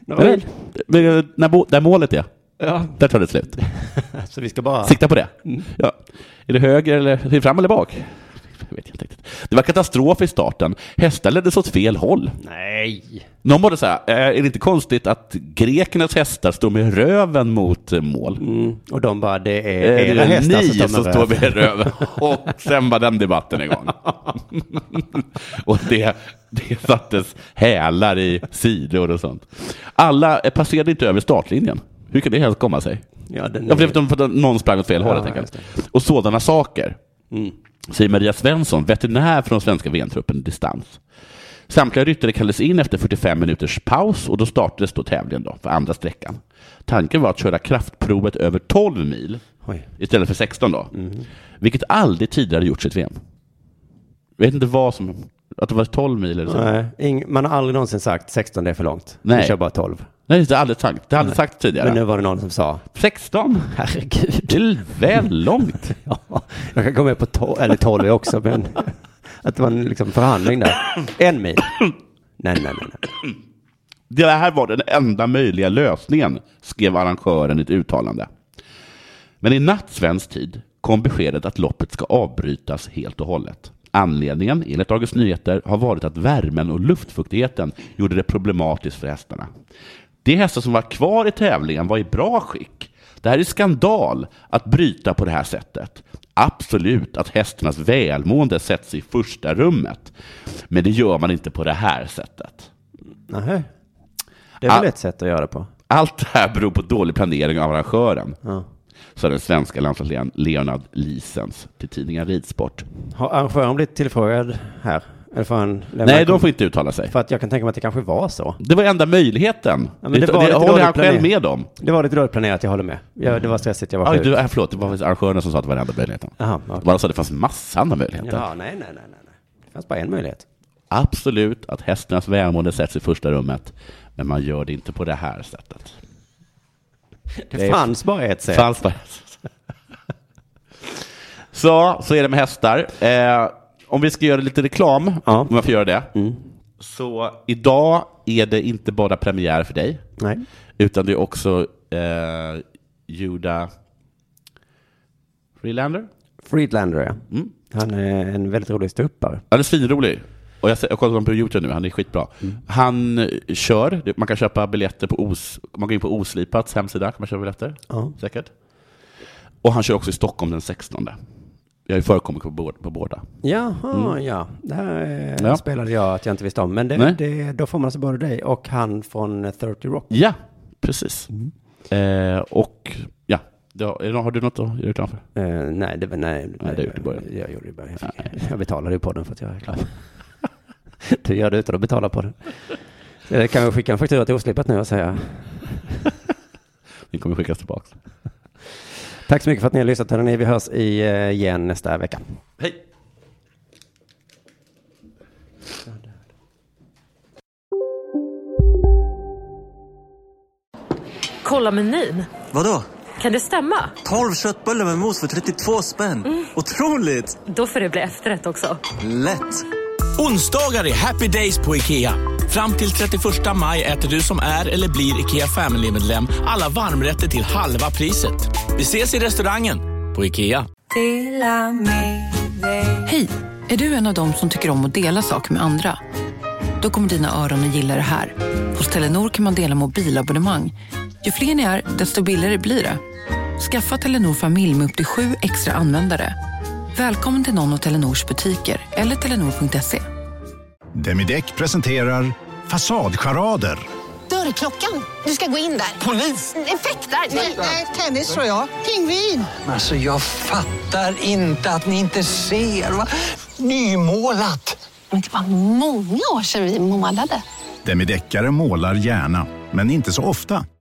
Några mil? Eller, när bo- där målet är, Ja, där tar det slut. så vi ska bara... Sikta på det. Ja. Är det höger eller är det fram eller bak? Jag vet inte riktigt. Det var katastrof i starten. Hästar leddes åt fel håll. Nej! Någon borde säga, eh, är det inte konstigt att grekernas hästar står med röven mot eh, mål? Mm. Och de bara, det Eh, är det era är hästar ni som står med röv. med röven. Och sen var den debatten igång. och det, det sattes hälar i sidor och sånt. Alla eh, passerade inte över startlinjen. Hur kan det helst komma sig? Ja, den Ja, för är... det är för att någon sprang åt fel håll, Ja, Mm. helt enkelt. Och sådana saker, säger Maria Svensson, veterinär från svenska VM-truppen i distans. Samtliga ryttare kallades in efter 45 minuters paus och då startades då tävlingen då, för andra sträckan. Tanken var att köra kraftprovet över 12 mil Oj. istället för 16 då, Mhm. vilket aldrig tidigare gjorts i ett VM. Jag vet inte vad som, att det var 12 mil eller så. Nej, Nej, ing- man har aldrig någonsin sagt 16 det är för långt. Vi Nej. kör bara 12. just det har aldrig sagt, det har aldrig sagt tidigare. Men nu var det någon som sa, 16? herregud. Det är väl långt. Ja, jag kan gå med på 12, eller 12 också, men att det var en liksom förhandling där. En mil. Nej, nej, nej. nej. Det här var den enda möjliga lösningen, skrev arrangören i ett uttalande. Men i natt svensk tid kom beskedet att loppet ska avbrytas helt och hållet. Anledningen, enligt Dagens Nyheter, har varit att värmen och luftfuktigheten gjorde det problematiskt för hästarna. De hästar som var kvar i tävlingen var i bra skick. Det här är skandal att bryta på det här sättet. Absolut att hästarnas välmående sätts i första rummet. Men det gör man inte på det här sättet. Nähä. Det är väl Ah. ett sätt att göra det på. Allt det här beror på dålig planering av arrangören, sa den svenska landslagsledaren Leonard Lisens till tidningen Ridsport. Har arrangören blivit tillfrågad här? Eller får han lämna Nej, de får inte uttala sig. För att jag kan tänka mig att det kanske var så. Det var enda möjligheten. Ja, men det det var det lite håller dålig han själv planering. med om. Det var lite dåligt planerat, jag håller med. Jag, det var stressigt, jag var Aj, sjuk. du, äh, förlåt, det var faktiskt arrangören som sa att det var den enda möjligheten. Jaha, Det okej. var alltså, det fanns massa andra möjligheter. Jaha, nej, nej, nej, nej. nej. Det fanns bara en möjlighet. Absolut att hästarnas välmående sätts i första rummet, men man gör det inte på det här sättet. Det, Det är- fanns bara ett sätt. Fanns det. Så, så är det med hästar. Eh, om vi ska göra lite reklam, Ja. om jag får göra det, Så idag är det inte bara premiär för dig, Nej. utan det är också eh, Juda Freelander. Friedlander, ja. Han är en väldigt rolig ståuppare. Han är svinrolig. Och jag, ser- jag kollar honom på Youtube nu, han är skitbra. Han eh, kör, man kan köpa biljetter på Os, man går in på Oslipats hemsida, kan man köpa biljetter? Ja. Säkert. Och han kör också i Stockholm den 16. Jag har ju förekommit på, båda- på båda. Jaha, ja. Det här eh, Ja. spelade jag att jag inte visste om. Men det, Nej. det, då får man alltså både dig och han från eh, 30 Rock. Ja, precis. Eh, och ja, det, har- är det- har du något att göra reklam för? Eh, nej, det var nej. nej, det gjorde du i början. Jag gjorde det i början. Jag, fick, jag betalade ju podden för att jag är klar. du gör det utan att betala på den. Så jag Eh, kan vi skicka en faktura till Oslipat nu och säga Den kommer skickas tillbaka. tack så mycket för att ni har lyssnat. Hörrni. Vi hörs i, eh, igen nästa vecka. Hej! Kolla menyn. Vadå? Kan det stämma? 12 köttbullar med mos för 32 spänn. Otroligt! Då får det bli efterrätt också. Lätt! Onsdagar är happy days på IKEA. Fram till 31 maj äter du som är eller blir IKEA Family-medlem alla varmrätter till halva priset. Vi ses i restaurangen på IKEA. Hej! Är du en av dem som tycker om att dela saker med andra? Då kommer dina öron att gilla det här. Hos Telenor kan man dela mobilabonnemang. Ju fler ni är, desto billigare blir det. Skaffa Telenor familj med upp till sju extra användare. Välkommen till någon av Telenors butiker eller telenor.se. Demideck presenterar Fasadcharader. Dörrklockan. Du ska gå in där. Polis? Effektar? Nej, nej, tennis tror jag. Pingvin. Alltså jag fattar inte att ni inte ser. Va? Nymålat! Men det var många år sedan vi målade. Demideckare målar gärna, men inte så ofta.